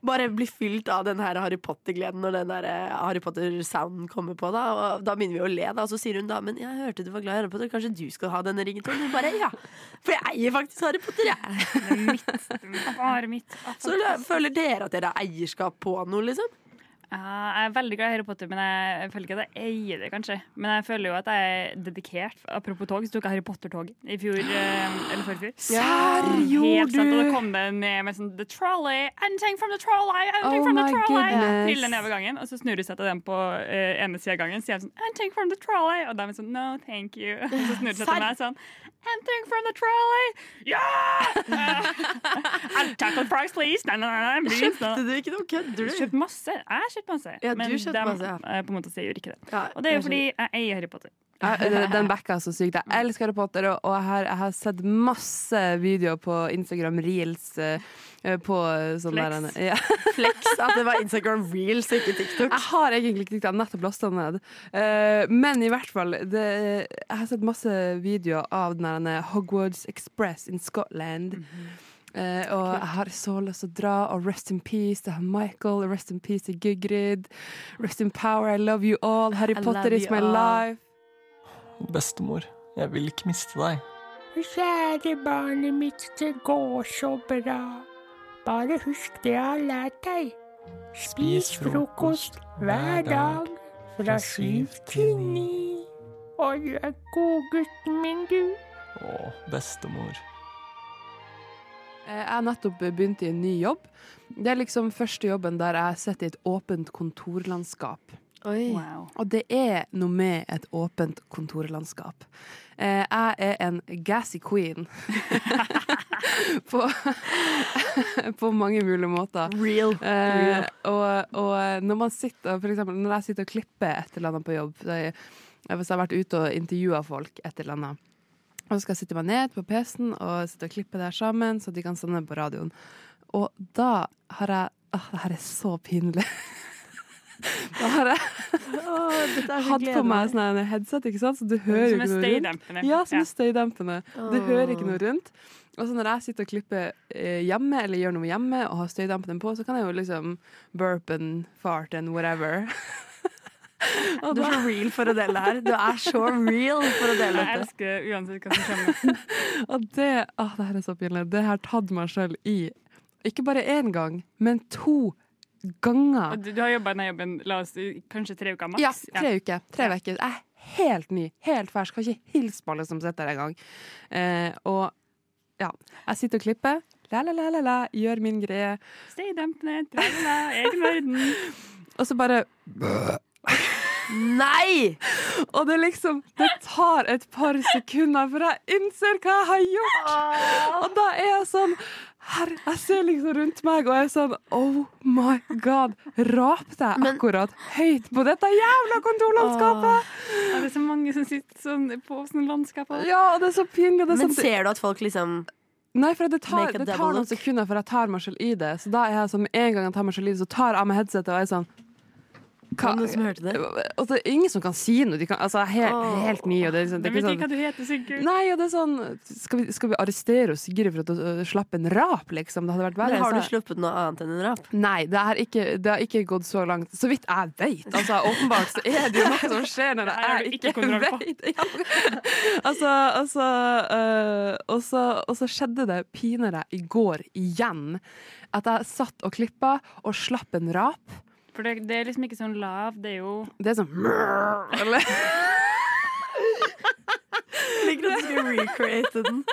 bare blir fylt av den her Harry Potter-gleden når den der eh, Harry Potter-sounden kommer på, da. Og da begynner vi å le, da. Og så sier hun da Men jeg hørte du var glad i Harry Potter, kanskje du skal ha denne ringetonen? Hun bare ja. For jeg eier faktisk Harry Potter, jeg.
Bare mitt.
Så da føler dere at dere har eierskap på noe, liksom?
Ja, jeg er veldig glad i Harry Potter, men jeg, jeg føler ikke at jeg eier det, kanskje. Men jeg føler jo at jeg er dedikert. Apropos tog, så tok jeg Harry Potter-tog i fjor. eh, Eller forfjor.
Serr, gjorde
Helt sant, og
du?
da kom det ned med sånn The trolley, anything from the trolley, anything
Oh
from the
my
trolley.
goodness.
Triller nedover gangen, og så snur de seg til dem på eh, ene siden av gangen, sier de sånn anything from the trolley, og de er sånn no, thank you. Og så snur de seg
Serr.
til meg sånn anything from the trolley, yeah! Uh, tackle fries, please. Nei, nei, nei, nei. beans,
Kjøpte du ikke noe? Kødder du?
Kjøpt masse. Jeg kjøpte masse.
Ja, du
men
kjøpte
dem,
masse, ja.
eh, på en måte så jeg gjør ikke det. og det er jo fordi jeg eier Harry Potter.
Ja, det- Den backa så sykt. Jeg elsker Harry Potter, og, og jeg, har, jeg har sett masse videoer på Instagram reels eh, på sånn
Flex.
der ja.
Flex at det var Instagram reels, ikke TikTok.
Jeg har egentlig ikke TikTok, jeg har nettopp lasta den ned. Eh, men i hvert fall, det, jeg har sett masse videoer av den der denne Hogwarts Express in Scotland.
Mhm.
Eh, og jeg har så lyst til å dra, og rest in peace til Michael, og rest in peace til Gygrid. Rest in power, I love you all, Harry
I
Potter
love
is
you
my
all.
life.
Bestemor, jeg vil ikke miste deg.
Kjære barnet mitt, det går så bra. Bare husk det jeg har lært deg. Spis frokost hver dag fra syv til ni. Og du er godgutten min, du.
Å, bestemor.
Eh, Jeg har nettopp begynt i en ny jobb. Det er liksom første jobben der jeg sitter i et åpent kontorlandskap. Og det er noe med et åpent kontorlandskap. Eh, Jeg er en gassy queen. på, på mange mulige måter.
Real.
Eh, og, og når man sitter, for eksempel når jeg sitter og klipper et eller annet på jobb, så jeg, hvis jeg har vært ute og intervjua folk et eller annet, og så skal jeg sitte meg ned på PC-en og sitte og klippe det her sammen, så de kan sende det på radioen. Og da har jeg Åh, det her er så pinlig. Da har jeg hatt på meg sånn her headset, ikke sant? så du hører jo
Som er
ikke noe rundt.
støydempende.
Ja, som
Ja.
er støydempende. Du
Åh.
hører ikke noe rundt. Og så når jeg sitter og klipper eh, hjemme, eller gjør noe hjemme, og har støydempende på, så kan jeg jo liksom burp and fart and whatever.
Du er så real for å dele det her. Du er så real for å dele
Jeg
dette.
elsker uansett hva som skjer.
Og det, åh, det her er så pinlig. Det har tatt meg sjøl i ikke bare én gang, men to ganger.
Og Du, du har jobba i denne jobben la oss, si, kanskje tre uker maks?
Ja, tre uker. Tre uker. Jeg er helt ny, helt fersk. Har ikke hilst på alle som sitter der engang. Eh, og ja, jeg sitter og klipper. La-la-la-la, gjør min greie.
Stay dampende, tralala, egen verden.
Og så bare
Nei!
Og det liksom Det tar
Ah.
et par sekunder før jeg innser hva jeg har gjort. Og da er jeg sånn Herre, jeg ser liksom rundt meg og jeg er sånn Oh my god! Rapte jeg akkurat høyt på dette jævla
Ah.
kontorlandskapet?
Ja, det er så mange som sitter sånn på sånne landskap. og-
Ja, og det er så pinlig. og Det er
Men
sånn-
ser du at folk liksom
Nei, for det tar,
Make a
det tar
double
noen
look.
sekunder før jeg tar meg selv i det. Så da er jeg sånn, med en gang jeg tar meg selv i det, så tar jeg av meg headsetet og er sånn hva?
noen som hørte det?
Og det er ingen som kan si noe. De kan, altså, jeg er helt,
Åh.
helt ny. Og det, er liksom, det
De
er
vet
ikke
ikke hva
sånn,
du heter, sikkert.
nei, og det er sånn Skal vi, skal vi arrestere oss, Sigrid for at du øh, slapp en rap, liksom? Det hadde vært verre.
Men har du
Så jeg-
sluppet noe annet enn en rap?
Nei, det, har ikke, det har ikke gått så langt. Så vidt jeg vet. Altså, åpenbart så er det jo noe som skjer når jeg ikke, vet. Ja. Altså, altså øh, og, så, og så skjedde det pinere i går igjen. At jeg satt og klippa og slapp en rap.
For det, det er liksom ikke sånn lav, det er jo
Det er sånn eller,
Liker at du skulle recreate den.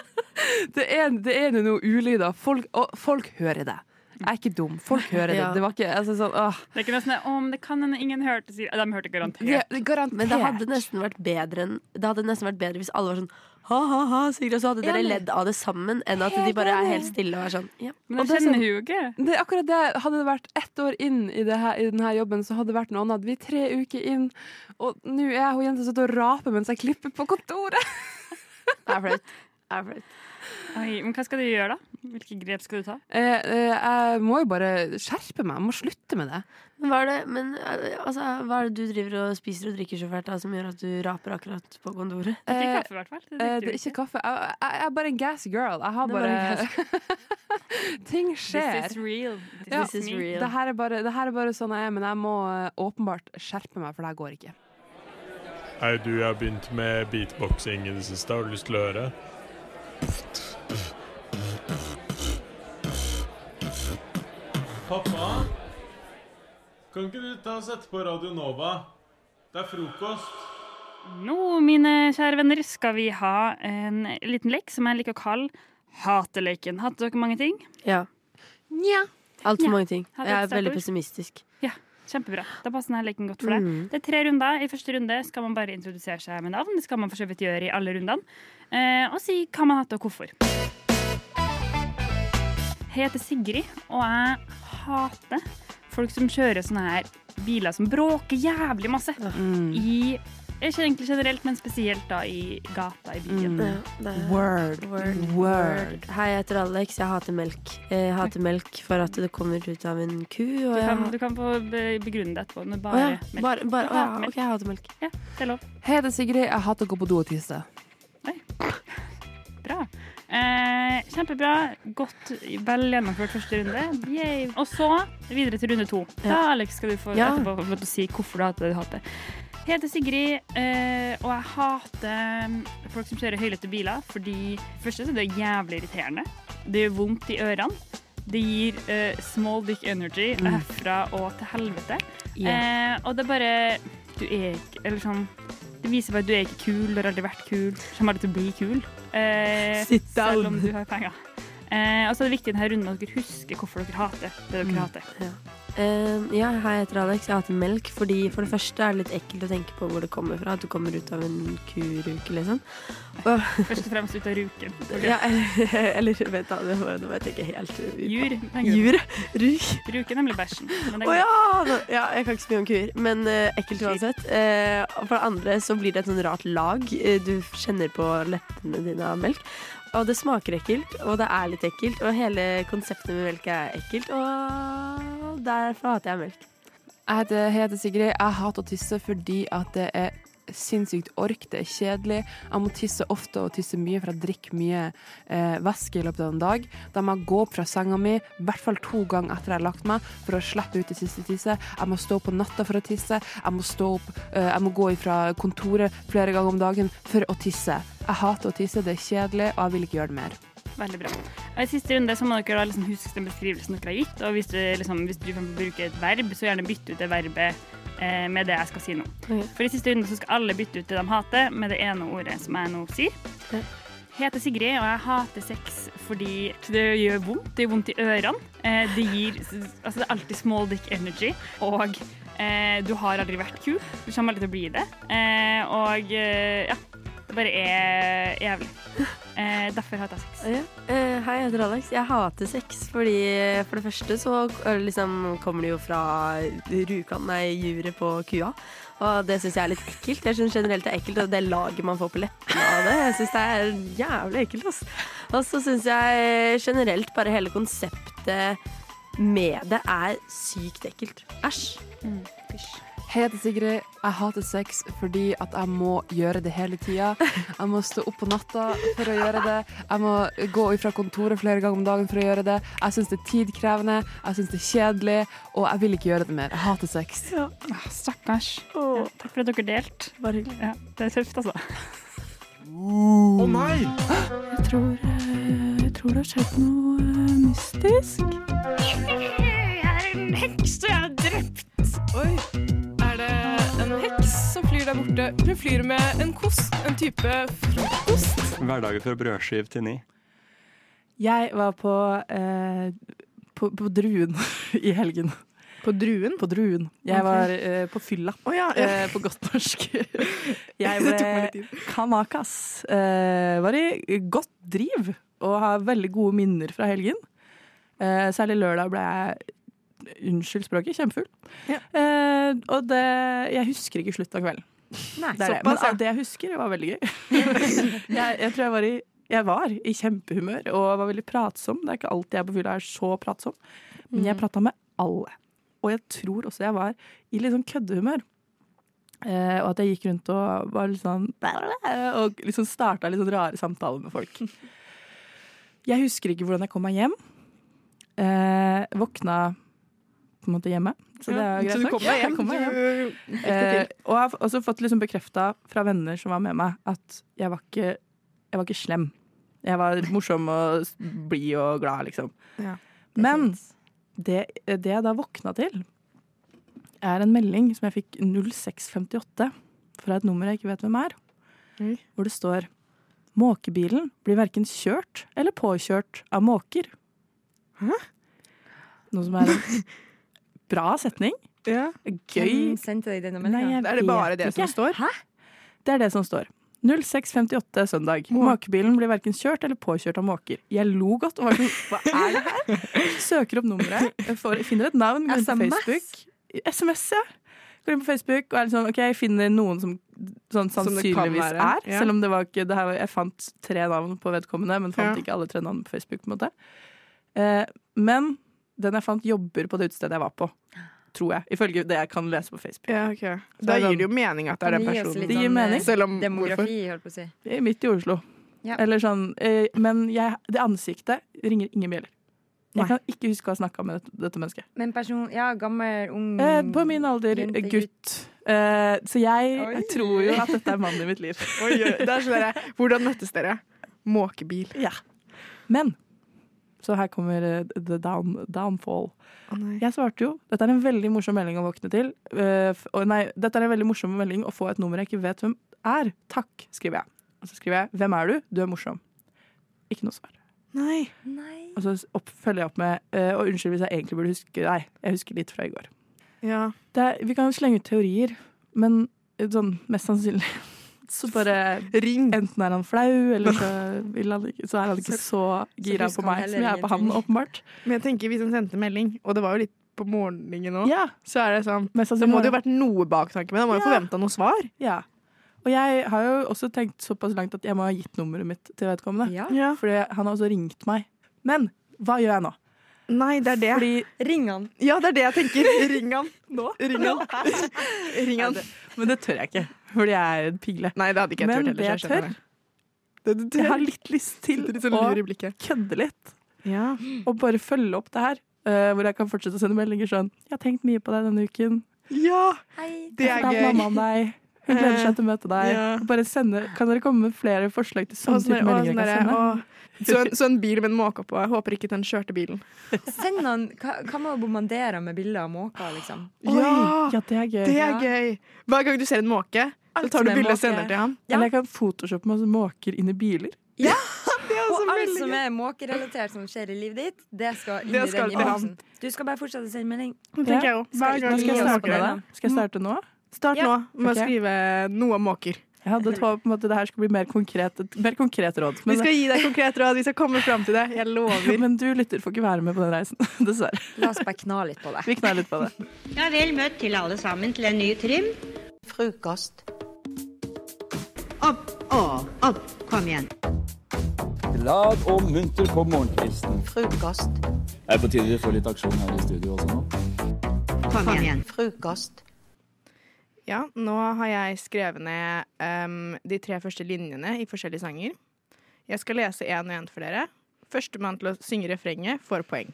Det er, det er noe ulyder. Folk, og folk hører det. Jeg er ikke dum. Folk hører det.
Ja.
Det var ikke altså, sånn åh.
Det er ikke noe sånn Å, men det kan hende ingen hørte sier De hørte garantert.
Men det hadde nesten vært bedre enn, Det hadde nesten vært bedre hvis alle var sånn ha, ha, ha, Sigrid. Og så hadde dere
Enig.
ledd av det sammen, enn at de
Helt
bare er
enig.
helt stille og er sånn. Ja.
Og det er sånn- Det er akkurat det. Hadde det vært ett år inn i, det her, i denne jobben, så hadde det vært noe annet. Vi er tre uker inn, og nå er hun jenta som sitter og raper mens jeg klipper på kontoret.
Det er flaut. Det er flaut.
Oi, men hva skal du gjøre, da? Hvilke grep skal du ta?
Eh, eh, jeg må jo bare skjerpe meg. Jeg må slutte med det.
Men hva er det, men, eh, altså, hva er det du driver og spiser og drikker så fælt da, som gjør at du raper akkurat på kontoret?
Eh, eh, det er ikke kaffe. Jeg, jeg, jeg er bare en gassy girl. Jeg har
Det er bare en
bare Ting skjer.
This is real. This
Ja,
is me.
Det her, er bare, det her er bare sånn jeg er, men jeg må eh, åpenbart skjerpe meg, for det her går ikke.
Hei, du, jeg har begynt med beatboxing i det siste. Har du lyst til å høre?
Pappa, kan ikke du ta og sette på Radio Nova? Det er frokost.
Nå, mine kjære venner, skal vi ha en liten lek som jeg liker å kalle Hateleken. Hater dere mange ting?
Ja.
Nja.
Altfor mange ting.
Har du
Jeg
et
er
sterkt
veldig
ord?
pessimistisk.
Ja, kjempebra. Da passer denne leken godt for deg.
Mm.
Det er tre runder. I første runde skal man bare introdusere seg med navn. Det skal man for så vidt gjøre i alle rundene. Eh, og si hva man har hatt og hvorfor. Jeg heter Sigrid, og jeg hater folk som kjører sånne her biler som bråker jævlig masse. Mm. I ikke egentlig generelt, men spesielt da i gata i byen.
Ja, det er- Mm. Word. Hei, jeg heter Alex. Jeg hater melk. Jeg hater melk for at det kommer ut av en ku.
Du
Og jeg
kan,
har-
du kan få be- begrunne det etterpå. Med bare
Å ja,
melk.
bare- bare-
Du
å ja,
hater melk.
ok, jeg hater melk.
Ja, det er lov.
Hei, det er Sigrid. Jeg hater å gå på do og tisse.
Bra. Eh, kjempebra. Godt, vel gjennomført første runde. Yay. Og så videre til runde to. Da,
Ja.
Alex, skal du få
Ja.
etterpå få lov til å si hvorfor du hater det du hater. Jeg heter Sigrid, eh, og jeg hater mm, folk som kjører høylytte biler. Fordi for det første så er det jævlig irriterende. Det gjør vondt i ørene. Det gir eh, small dick energy
Mm.
herfra og til helvete.
Ja.
Eh, og det er bare Du er ikke Eller sånn Det viser bare at du er ikke kul. Du har aldri vært kul. Kommer aldri til å bli kul. Eh,
Sit down.
Selv om du har penger. Eh, og så er det viktig i denne runden at dere husker hvorfor dere hater det
Mm.
dere hater.
Eh, ja, hei, jeg heter Alex. Jeg hater melk fordi for det første er det litt ekkelt å tenke på hvor det kommer fra. At det kommer ut av en kuruke, liksom. Og,
Først og fremst ut av ruken.
ja, eller vet du, det vet jeg ikke helt.
Jur. tenker du.
Jur. Ruk.
Ruken er nemlig bæsjen. men det
Å
er
ja! Nå, ja! Jeg kan ikke så mye om kuer, men eh, ekkelt uansett. Eh, og for det andre så blir det et sånn rart lag. Eh, Du kjenner på leppene dine av melk. Og det smaker ekkelt, og det er litt ekkelt, og hele konseptet med melk er ekkelt, og derfor hater jeg melk.
Jeg heter, jeg heter Sigrid. Jeg hater å tisse fordi at det er sinnssykt ork, det er kjedelig. Jeg må tisse ofte og tisse mye, for jeg drikker mye eh, væske i løpet av en dag. Da må jeg gå opp fra senga mi i hvert fall to ganger etter jeg har lagt meg, for å slippe ut det siste tisset. Jeg må stå opp på natta for å tisse. Jeg må, stå opp, eh, jeg må gå fra kontoret flere ganger om dagen for å tisse. Jeg hater å tisse, det er kjedelig, og jeg vil ikke gjøre det mer.
Veldig bra. Og I siste runde så må dere da liksom huske den beskrivelsen dere har gitt. Og hvis du, liksom, hvis du kan bruke et verb, så gjerne bytte ut det verbet eh, med det jeg skal si nå. For i siste runde så skal alle bytte ut det de hater, med det ene ordet som jeg nå sier. Jeg heter Sigrid, og jeg hater sex fordi det gjør vondt. Det gjør vondt i ørene. Eh, Det gir Altså, det er alltid small dick energy. Og eh, du har aldri vært kul. Du kommer aldri til å bli det. Eh, og eh, ja. Det bare er jævlig. Eh, derfor hater jeg sex.
Ja. Eh, hei, jeg heter Alex. Jeg hater sex fordi eh, for det første så eh, liksom, kommer det jo fra rukan, nei, juret på kua. Og det syns jeg er litt ekkelt. Jeg syns generelt det er ekkelt, og det laget man får på leppene av det, jeg syns det er jævlig ekkelt, ass. Og så syns jeg generelt bare hele konseptet med det er sykt ekkelt. Æsj.
Mm.
Hei, jeg heter Sigrid. Jeg hater sex fordi at jeg må gjøre det hele tida. Jeg må stå opp på natta for å gjøre det. Jeg må gå ifra kontoret flere ganger om dagen for å gjøre det. Jeg syns det er tidkrevende, jeg syns det er kjedelig, og jeg vil ikke gjøre det mer. Jeg hater sex.
Ah, Stakkars. Ja, takk for at dere delte. Bare hyggelig. Ja, det er tøft, altså.
Å nei! Jeg tror, eh, jeg tror det har skjedd noe eh, mystisk.
Jeg er en heks, og jeg er drept. Oi. Er det en heks som flyr der borte? Hun flyr med en kost, en type frokost.
Hverdager fra brødskiv til ni.
Jeg var på, eh, på, på Druen i helgen. På Druen? På Druen. Jeg
Ok.
var eh, på fylla, eh, på godt norsk. Jeg
Det tok meg litt
ble kamakas. Eh, var i godt driv og har veldig gode minner fra helgen. Eh, særlig lørdag ble jeg, unnskyld språket, kjempefull. Eh, og det, jeg husker ikke slutten av kvelden.
Nei,
det er det.
såpass,
Men
ja.
av det jeg husker, det var veldig gøy. jeg, jeg tror jeg var i jeg var i kjempehumør og var veldig pratsom. Det er ikke alltid jeg på fylla er så pratsom. Men jeg prata med alle. Og jeg tror også jeg var i litt sånn køddehumør. Eh, og at jeg gikk rundt og var litt sånn Og liksom starta litt sånn rare samtaler med folk. Jeg husker ikke hvordan jeg kom meg hjem. Eh, våkna på en måte hjemme, så det er jo
Ja, så
greit
du
nok.
kom deg
Jeg
hjem.
kom meg hjem.
Du- Lykke til.
Eh, og jeg har f- også fått liksom bekrefta fra venner som var med meg, at jeg var ikke, jeg var ikke slem. Jeg var morsom og s- blid og glad, liksom. Men det, det jeg da våkna til, er en melding som jeg fikk 0658 fra et nummer jeg ikke vet hvem er, hvor det står Måkebilen blir verken kjørt eller påkjørt av måker. Hæ? Noe som er en bra setning. Gøy.
Hvem sendte deg denne
Nei, jeg
meldinga?
vet ikke. Hæ? Det er det som står. 06.58 søndag. Måkebilen blir verken kjørt eller påkjørt av måker. Jeg lo godt og var sånn Hva er det her? Søker opp nummeret, får, finner et navn, går inn på
SMS?
Facebook. SMS, ja. Går inn på Facebook og er litt sånn OK, jeg finner noen som sånn,
Som det kan
sannsynligvis
være,
er.
ja.
Selv om det var ikke det her, var- Jeg fant tre navn på vedkommende, men fant
Ja.
ikke alle tre navn på Facebook. på en måte. Eh, men den jeg fant, jobber på det utestedet jeg var på. Tror jeg. Ifølge det jeg kan lese på Facebook.
Ja, ok. Da gir det jo mening at det er den personen.
Det gir mening.
eh, Demografi, holdt på å si.
I- Midt i Oslo.
Ja.
Eller sånn, eh, men jeg, det ansiktet ringer ingen bjeller.
Nei.
Jeg kan ikke huske å ha snakka med dette, dette mennesket.
Men person Ja, gammel, ung
Eh, på min alder,
jente,
gutt. Eh, så jeg
Oi.
tror jo at dette er mannen i mitt liv.
Oi, oi. Det er sånn der, hvordan møttes dere? Måkebil.
Ja. Men så her kommer eh, the down, downfall. jeg svarte jo Dette er en veldig morsom melding å våkne til. eh, f- å, nei, dette er en veldig morsom melding å få et nummer jeg ikke vet hvem er. Takk, skriver jeg. Og så skriver jeg 'Hvem er du? Du er morsom'. Ikke noe svar.
Nei.
Og så s- opp, følger jeg opp med eh, Og unnskyld hvis jeg egentlig burde huske deg. Jeg husker litt fra i går.
Ja.
Det er, vi kan jo slenge ut teorier, men eh, sånn mest sannsynlig så bare Ring! Enten er han flau, eller så, vil han ikke, så er han ikke så gira på meg som jeg er på han. opp- åpenbart.
Men jeg tenker hvis han sendte melding, og det var jo litt på morgenen nå,
Ja.
så er det sånn Da
sannsynlig
må
var
det jo
det-
vært noe baktanke, men han må
Ja.
jo forventa noe svar.
Ja. Og jeg har jo også tenkt såpass langt at jeg må ha gitt nummeret mitt til vedkommende.
Ja.
Fordi han har også ringt meg. Men hva gjør jeg nå?
Nei, det er det.
Fordi
Ring han.
Ja, det er det jeg tenker. Ring han nå. Ring han. Ring han.
Men det tør jeg ikke, fordi jeg er en pigle.
Nei, det hadde ikke jeg
Men det
turt heller,
jeg
så jeg
tør,
skjønner
jeg har litt lyst til
Sitter litt sånn
å
lur i
kødde litt. Og bare følge opp det her. eh, hvor jeg kan fortsette å sende meldinger sånn 'Jeg har tenkt mye på deg denne uken'.
Ja! Det
Jeg
er
har
gøy.
fortalt mammaen deg. Hun gleder seg til å møte deg.
Ja.
Bare sende, kan dere komme med flere forslag til sånne
Og sånn
type
der, å,
meldinger jeg
sånn
kan
der,
sende?
å, så, en, så en bil med en måke på. Jeg håper ikke den kjørte bilen.
Send han Hva hva med å bombardere med bilder av måker, liksom?
Oi, ja, det er gøy.
Det er gøy. Hver gang du ser en måke, så tar du bilde og sender til ham.
Eller jeg kan photoshoppe masse måker inn i biler.
og alt som er måkerelatert som skjer i livet ditt, det skal inn
Det
i
skal
den
til han.
innboksen. Du skal bare fortsette å sende melding.
Ja. Skal, nå skal jeg starte med det. Skal jeg starte nå?
Mm. Start
Ja.
nå med
Ok.
å skrive noe om måker.
Jeg hadde et håp om at det her skulle bli mer konkret, et mer konkret råd.
Vi skal gi deg konkret råd. Vi skal komme fram til det. Jeg lover.
Men du lytter får ikke være med på den reisen, dessverre.
La oss bare kna litt på det.
Vi knar litt på det.
Ja, vel møtt til alle sammen til en ny trim. Frokost. Opp og opp. Kom igjen.
Glad og munter på morgenkvisten.
Frokost.
Det er på tide vi får litt aksjon her i studio også nå.
Kom igjen. Frokost.
Ja, nå har jeg skrevet ned ehm, de tre første linjene i forskjellige sanger. Jeg skal lese én og én for dere. Førstemann til å synge refrenget får poeng.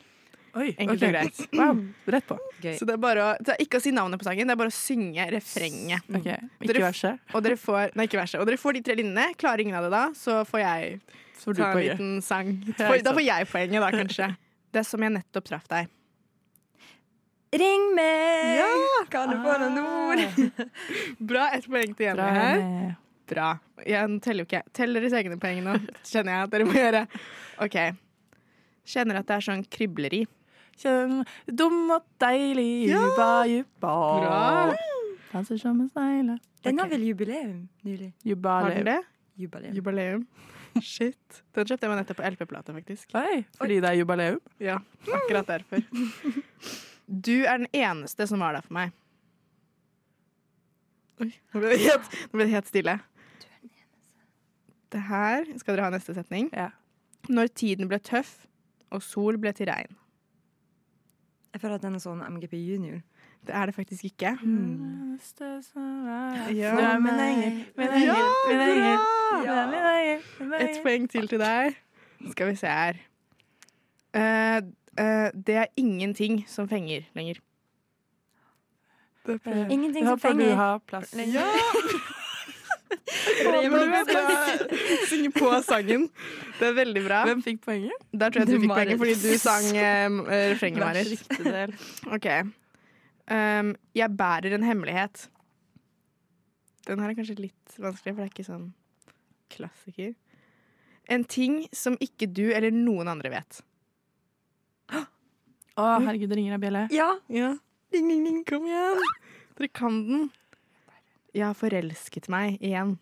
Oi,
Enkelt
ok.
og greit.
Wow, rett på.
Så det er bare å, det er ikke å si navnet på sangen, det er bare å synge refrenget.
Ok,
Dere-
Ikke verset.
Og dere får, nei, ikke verset. Og dere får de tre linjene. Klarer ingen av det da, så får jeg
får du
ta en
poenget.
liten sang.
Ja,
For,
ikke
da
sant.
får jeg poenget, da, kanskje. Det som jeg nettopp traff deg.
Ring meg! Kan du få noen ord?
Ah. Bra. Ett poeng til Jenny
Bra,
her.
Jenny.
Bra. Jeg teller jo ikke. Tell deres egne poeng nå, kjenner jeg at dere må gjøre. OK. Kjenner at det er sånn kribleri.
Kjenn dum og deilig,
Ja!
juba, juba.
Bra.
Danser som en snegle.
Ah. Den har vel jubileum nylig?
Jubileum.
Har den det?
Jubileum.
Jubileum. Shit. Den kjøpte jeg meg nettopp på LP-plate, faktisk.
Oi, fordi det er jubileum?
Ja, akkurat derfor. Du er den eneste som var der for meg. Oi, nå ble det helt, nå ble det helt stille. Det her Skal dere ha neste setning? Når tiden ble tøff, og sol ble til regn.
Jeg føler at den er sånn MGP junior.
Det er det faktisk ikke.
Mm. Ja. Du er min engel, min engel,
Ja,
min engel.
bra!
Du er min engel, min engel.
Et poeng til til deg. Skal vi se her. Eh, eh, det er ingenting som fenger lenger. Det er-
Ingenting som fenger.
Ja!
Det
Men
gjør
du
meg
vet,
glad.
jeg synger på sangen. Det er veldig bra.
Hvem fikk poenget?
Der tror jeg
Det
du fikk
var
poenget fordi du
det.
sang eh, refrenget,
Hver
Marit.
riktig del.
OK. Um, jeg bærer en hemmelighet. Den her er kanskje litt vanskelig, for det er ikke sånn klassiker. En ting som ikke du eller noen andre vet.
Å, herregud, det ringer ei bjelle.
Ja. Ding, ding, ding. Kom igjen. Dere kan den. Jeg har forelsket meg igjen.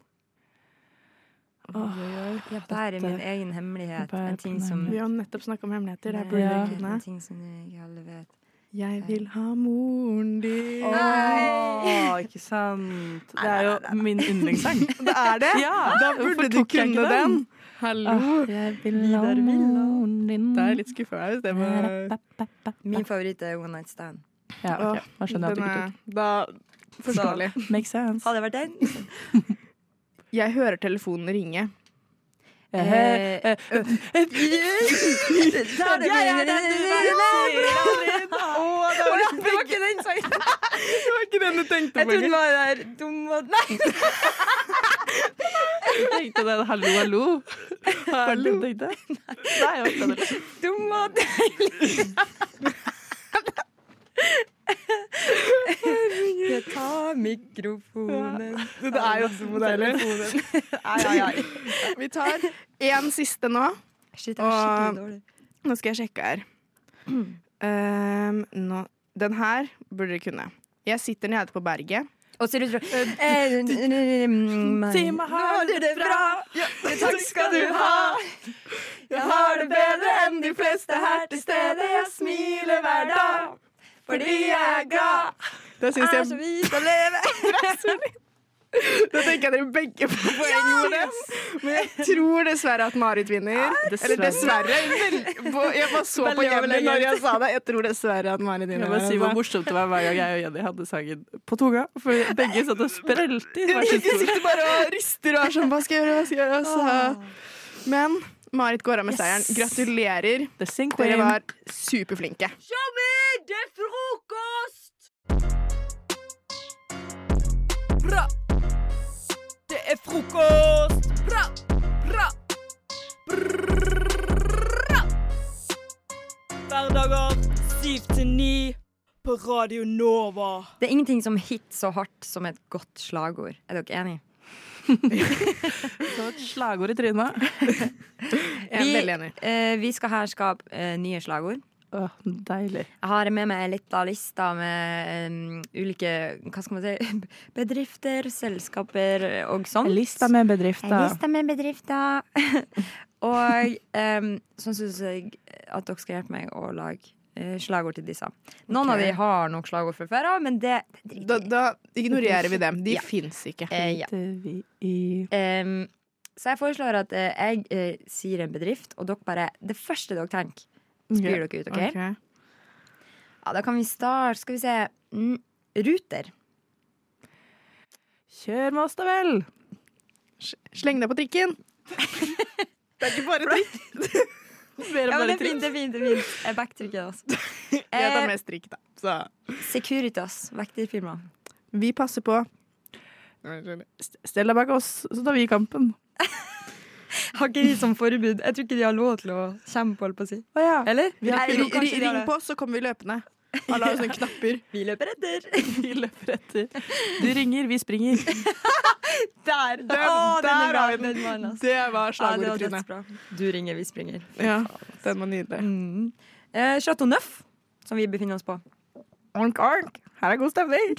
Jeg bærer min egen hemmelighet. En ting som
Vi har nettopp snakka om hemmeligheter. Det
Nei,
burde
ja.
dere kunne.
En ting som ikke alle vet.
Jeg vil ha moren din.
Å, ikke sant. Det er jo min yndlingssang.
Det er det?
Ja,
da
hvorfor
burde du
tok jeg ikke
kunne den.
den?
Hallo.
Ah,
Åh, jeg vil ha moren din.
Det er litt skuffa meg hvis det var
Min favoritt er One Night Stand.
Ja, ok. Da skjønner jeg at du ikke
tok. Da forståelig.
Så, Makes sense.
Hadde jeg vært den?
Jeg hører telefonen ringe.
Eh, eh,
Ta det
Jeg er
med
den
deg,
du
vær
var.
sikker.
Å, det var
Det var ikke den sangen.
Det var ikke den du tenkte
Jeg
på.
trodde den var der dum og Nei!
Jeg tenkte den hallo, hallo. Hallo. Tenkte. jeg. Nei, jeg vet ikke.
Dum og deilig. Jeg tar mikrofonen
Det er jo dum og deilig. Ai, ai, ai. Vi tar én siste nå.
Shit,
det var skikkelig Nå skal jeg sjekke her. Um, nå. Den her burde dere kunne. Jeg sitter nede på berget. Eh,
Og ser ut som
Si meg, har du det bra?
Ja, takk skal du ha. Jeg har det bedre enn de fleste her til stede. Jeg smiler hver dag fordi jeg er glad.
Det syns
er
jeg
så vidt å leve.
Da tenker jeg dere begge får poeng for det. Men jeg tror dessverre at Marit vinner.
Dessverre.
Eller dessverre. Vel, på- Jeg bare så på
Veldig
Jenny
overlegent.
når jeg sa det. Jeg tror dessverre at Marit
Jeg
vinner.
må bare si hvor
altså.
morsomt det var hver gang jeg og Jenny hadde sangen på tunga. For begge satt og sprelte i hvert sitt
Jeg sitter
bord.
bare og rister og er sånn Hva skal jeg gjøre? Hva skal jeg gjøre? Så. Men Marit går av med seieren. Gratulerer. Dere
queen.
var superflinke.
Tommy, det er frokost!
Bra!
Det er frokost! Bra! Bra! Bra! Hverdager 7 til 9 på Radio Nova.
Det er ingenting som hit så hardt som et godt slagord. Er dere enige?
Så et slagord i trynet.
Vi, eh, vi skal her skape eh, nye slagord.
Åh, deilig.
Jeg har med meg ei lita liste med um, ulike hva skal man si, bedrifter, selskaper og sånt.
Lista med bedrifter.
Ei liste med bedrifter. og um, sånn syns jeg at dere skal hjelpe meg å lage eh, slagord til disse. Noen
Ok.
av de har nok slagord fra før av, men det
Da, da ignorerer vi dem. De
Ja.
fins ikke.
Eh, ja. Em, så jeg foreslår at eh, jeg eh, sier en bedrift, og dere bare Det første dere tenker, spyr
Ok.
dere ut, OK? Ja, da kan vi starte. Skal vi se. Mm, ruter.
Kjør med oss, da vel.
Sleng deg på trikken. det er ikke bare trikk.
Ja, men det er
trikk.
fint, det er fint. det er fint. Jeg backtricker, altså.
Jeg tar
Eh,
mest trikk, da. Så.
Securitas. Vekterfirma.
Vi passer på.
Stell deg bak oss, så tar vi kampen.
Har ikke de som forbud? Jeg tror ikke de har lov til å kjempe, holdt på å si. Eller?
Vi har
Nei,
ikke-
ri-
kanskje
ri-
de har det. så kommer vi løpende. Alle har jo sånne knapper.
Vi løper etter.
vi løper etter. Du ringer, vi springer.
Der!
Den,
Å, den er
der
bra,
har vi
den var den,
den.
altså.
Det var
Ja,
slagordet,
det var
Trine.
dødsbra. Du ringer, vi springer. Fy
Ja,
faen, altså.
den var nydelig.
Mm. Eh, Chateau Neuf, som vi befinner oss på.
Ork, ork. Her er god stemning.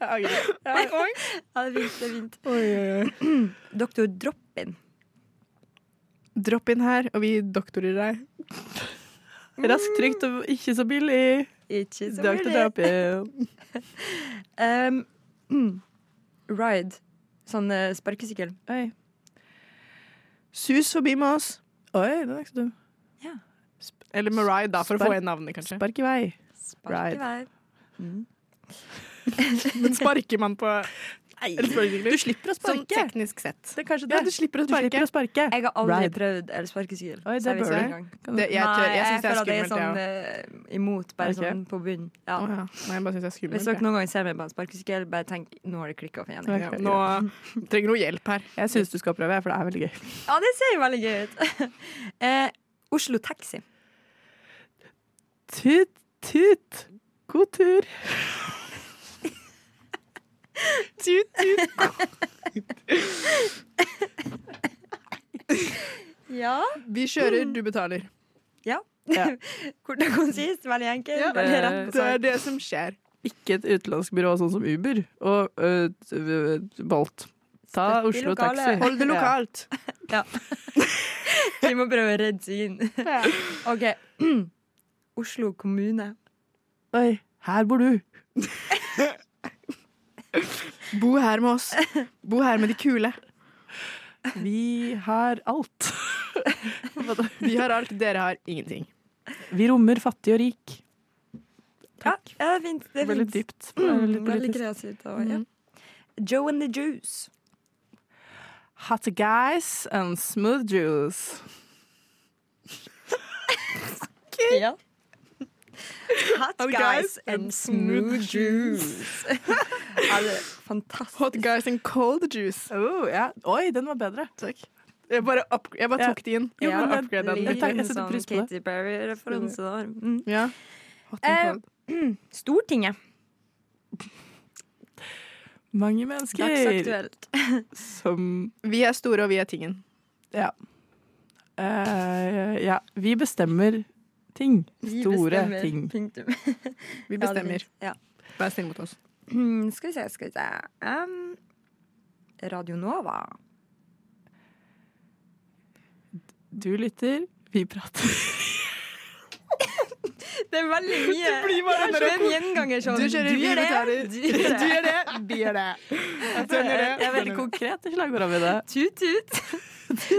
Jeg angrer.
Ja, det er fint. det er fint. Doktor Drop-in.
Dropp inn her, og vi doktorer deg.
Raskt, trygt og ikke så billig.
Ikke så
Dr.
billig.
Dropin.
Um, mm. Ride. Sånn eh, sparkesykkel.
Oi. Sus forbi med oss. Oi, den er ikke så dum.
Ja.
Eller med ride, da, for å
Spark-
få inn navnet, kanskje.
Spark i vei.
Spark i vei.
Men sparker man på Eller sparkesykler? Du slipper
å sparke.
Sånn teknisk sett.
det.
Ja, du slipper å
Du
sparke.
slipper å Jeg har aldri
Ride.
prøvd el- sparkesykkel.
Oi, det
så jeg
bør
vet ikke
du.
engang.
Kan du- Det- jeg tør- jeg
Nei,
synes det er
føler at jeg er
skummelt,
sånn eh, imot, bare
Ok.
sånn på bunnen.
Å
Ja.
ja. Nei, jeg bare synes det er skummelt,
Hvis dere
jeg.
noen gang ser meg på en sparkesykkel, bare tenk nå har det klikka for Jenny.
Ja, nå trenger hun hjelp her.
Jeg syns du skal prøve, for det er veldig gøy.
Ja, det ser jo veldig gøy ut. eh, Oslo Taxi.
Tut, tut. God tur.
Tut, tut.
Ja.
Vi kjører, du betaler.
Ja.
Ja.
Kort og konsist, veldig enkelt.
Ja,
veldig rett på
det er
sak.
det som skjer.
Ikke et utenlandsk byrå sånn som Uber og øh, øh, Bolt. Ta
Støtt i
Oslo
lokalet.
Taxi.
Hold det
Ja.
lokalt. Ja. Vi må prøve å redde seg inn. OK. Oslo kommune.
Oi, her bor du.
Bo her med oss. Bo her med de kule.
Vi har alt.
Vi har alt, dere har ingenting.
Vi rommer fattig og rik.
Takk. Ja, det er fint. Det er
Veldig
fint.
dypt. Det er veldig
Mm, veldig
politisk. Mm.
kreativt. Og, ja. Joe and the Juice.
Hot guys and smooth juice.
Ja. Hot guys and smooth juice. Ja, det er fantastisk. Oh,
Hot guys and cold juice.
Oi, den var bedre.
Takk. Jeg bare, opp, jeg bare
Ja.
tok de inn.
Jo, men
Jeg
den-
upgradet den.
Jeg tar- jeg setter pris på det.
sånn Katy Perry-referanse der.
Mm. Ja.
Mm. Eh, mm, Stortinget.
Mange mennesker. Som
Vi er store, og vi er tingen.
Ja. Eh, ja. Vi bestemmer ting.
Vi
Store
bestemmer.
ting.
Punktum.
Vi
Ja, det er
bestemmer.
fint. Ja.
Vær snill mot oss.
Mm, Skal vi se, skal vi se. Um, Radio Nova.
Du lytter, vi prater.
Det er veldig mye.
Det blir bare
Det er
den der-
som en gjenganger sånn.
Du kjører, vi betaler.
Du gjør det.
Du gjør det, vi gjør det. Den gjør det.
Jeg er veldig
konkret i slagordene mine.
Tut, tut.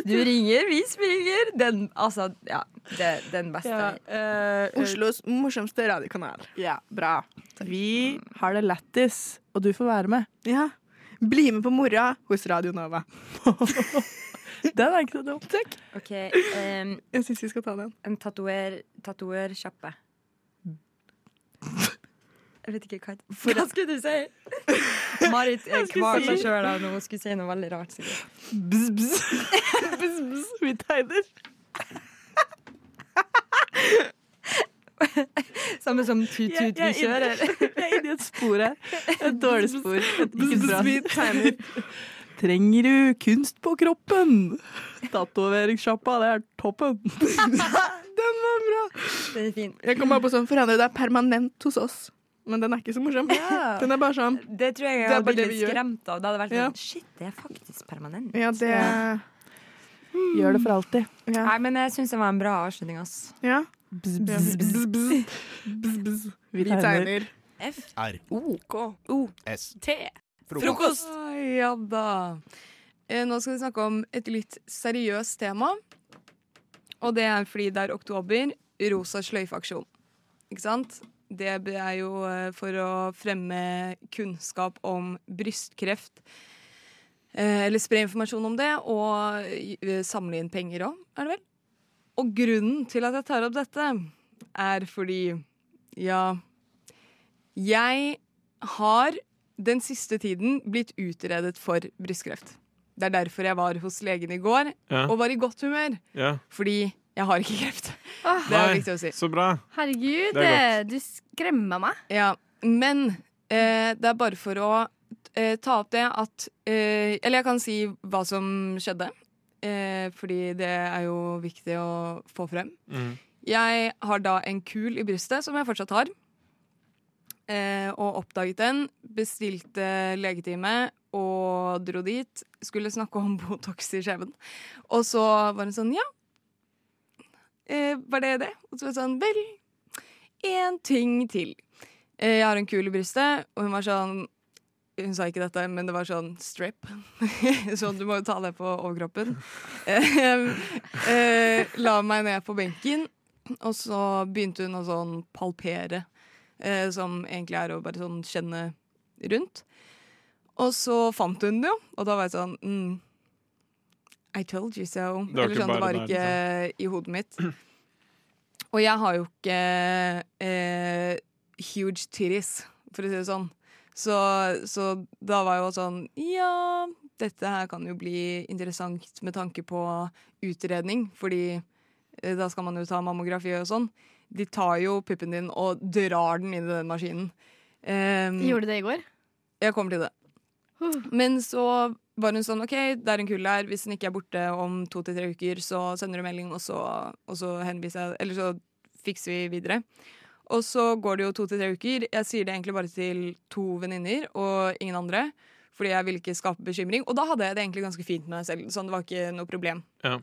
Du ringer, vi springer. Den, altså, ja. Det er den beste.
eh, Oslos morsomste radiokanal.
Ja, bra. Vi har det lættis, og du får være med.
Ja. Bli med på mora hos Radio Nova.
Den er ikke så dum.
Takk.
OK. Um,
Jeg syns vi skal ta den.
En tatoer- tatoerkjappe. Jeg vet ikke hva For Hva skulle du si? Marit er
Jeg skulle
kvar seg
si-
sjøl av noe. Hun skulle si noe veldig rart. sikkert.
Bzz, bzz. bzz, bzz. Vi tegner.
Samme som tut-tut, vi kjører.
Jeg er inne i et spor her. Et dårlig spor. Et ikke bra.
Vi tegner.
Trenger du kunst på kroppen? Tatoveringssjappa, det er toppen.
Den var bra!
Den er fin.
Jeg kom bare på sånn for henne, det er permanent hos oss. Men den er ikke så morsom.
Ja.
Den er bare sånn
Det tror jeg jeg
er
hadde
bare det
blitt litt
vi gjør.
skremt av. Det hadde vært
Ja.
sånn Shit, det er faktisk permanent.
Ja, det
Gjør det for alltid.
Nei, men jeg syns det var en bra avslutning, ass.
Ja.
Bzz,
bzz, bzz, bzz.
Vi tegner.
F.
R.
O. K. O.
S.
T.
Frokost.
Oi, Ja da. Eh, Nå skal vi snakke om et litt seriøst tema. Og det er fordi det er oktober, rosa sløyfe-aksjon. Ikke sant? Det er jo eh, for å fremme kunnskap om brystkreft. Eh, Eller spre informasjon om det, og eh, samle inn penger òg, er det vel? Og grunnen til at jeg tar opp dette, er fordi Ja. Jeg har den siste tiden blitt utredet for brystkreft. Det er derfor jeg var hos legen i går,
Ja.
og var i godt humør.
Ja.
Fordi jeg har ikke kreft.
Ah.
Det er liksom-
Nei,
viktig å si.
Så bra.
Herregud,
Det er
eh, du skremmer meg. Ja, men eh, det er bare for å eh, ta opp det at eh, Eller jeg kan si hva som skjedde, eh, fordi det er jo viktig å få frem. Jeg har da en kul i brystet, som jeg fortsatt har. Eh, og oppdaget den, bestilte legetime og dro dit. Skulle snakke om Botox i skjeven. Og så var hun sånn, ja, eh, var det det? Og så var det sånn, vel, en ting til. Eh, jeg har en kul i brystet, og hun var sånn, hun sa ikke dette, men det var sånn strip. sånn, du må jo ta det på overkroppen. Eh, eh, la meg ned på benken, og så begynte hun å sånn palpere, eh, som egentlig er å bare sånn kjenne rundt. Og så fant hun det jo, og da var jeg sånn mm, I told you so.
Det var
Eller
ikke bare
sånn, det
liksom.
var
der,
ikke i hodet mitt. Og jeg har jo ikke eh, huge titties, for å si det sånn. Så, så da var jeg jo sånn Ja, dette her kan jo bli interessant med tanke på utredning, fordi eh, da skal man jo ta mammografi og sånn. De tar jo puppen din og drar den inn i den maskinen.
Gjorde
det i går? Jeg kommer til det. Men så var hun sånn OK, det er en kul der. Hvis den ikke er borte om to til tre uker, så sender du melding, og så, og så henviser jeg Eller så fikser vi videre. Og så går det jo to til tre uker. Jeg sier det egentlig bare til to venninner og ingen andre. Fordi jeg ville ikke skape bekymring. Og da hadde jeg det egentlig ganske fint med meg selv. Sånn, det var ikke noe problem.
Ja.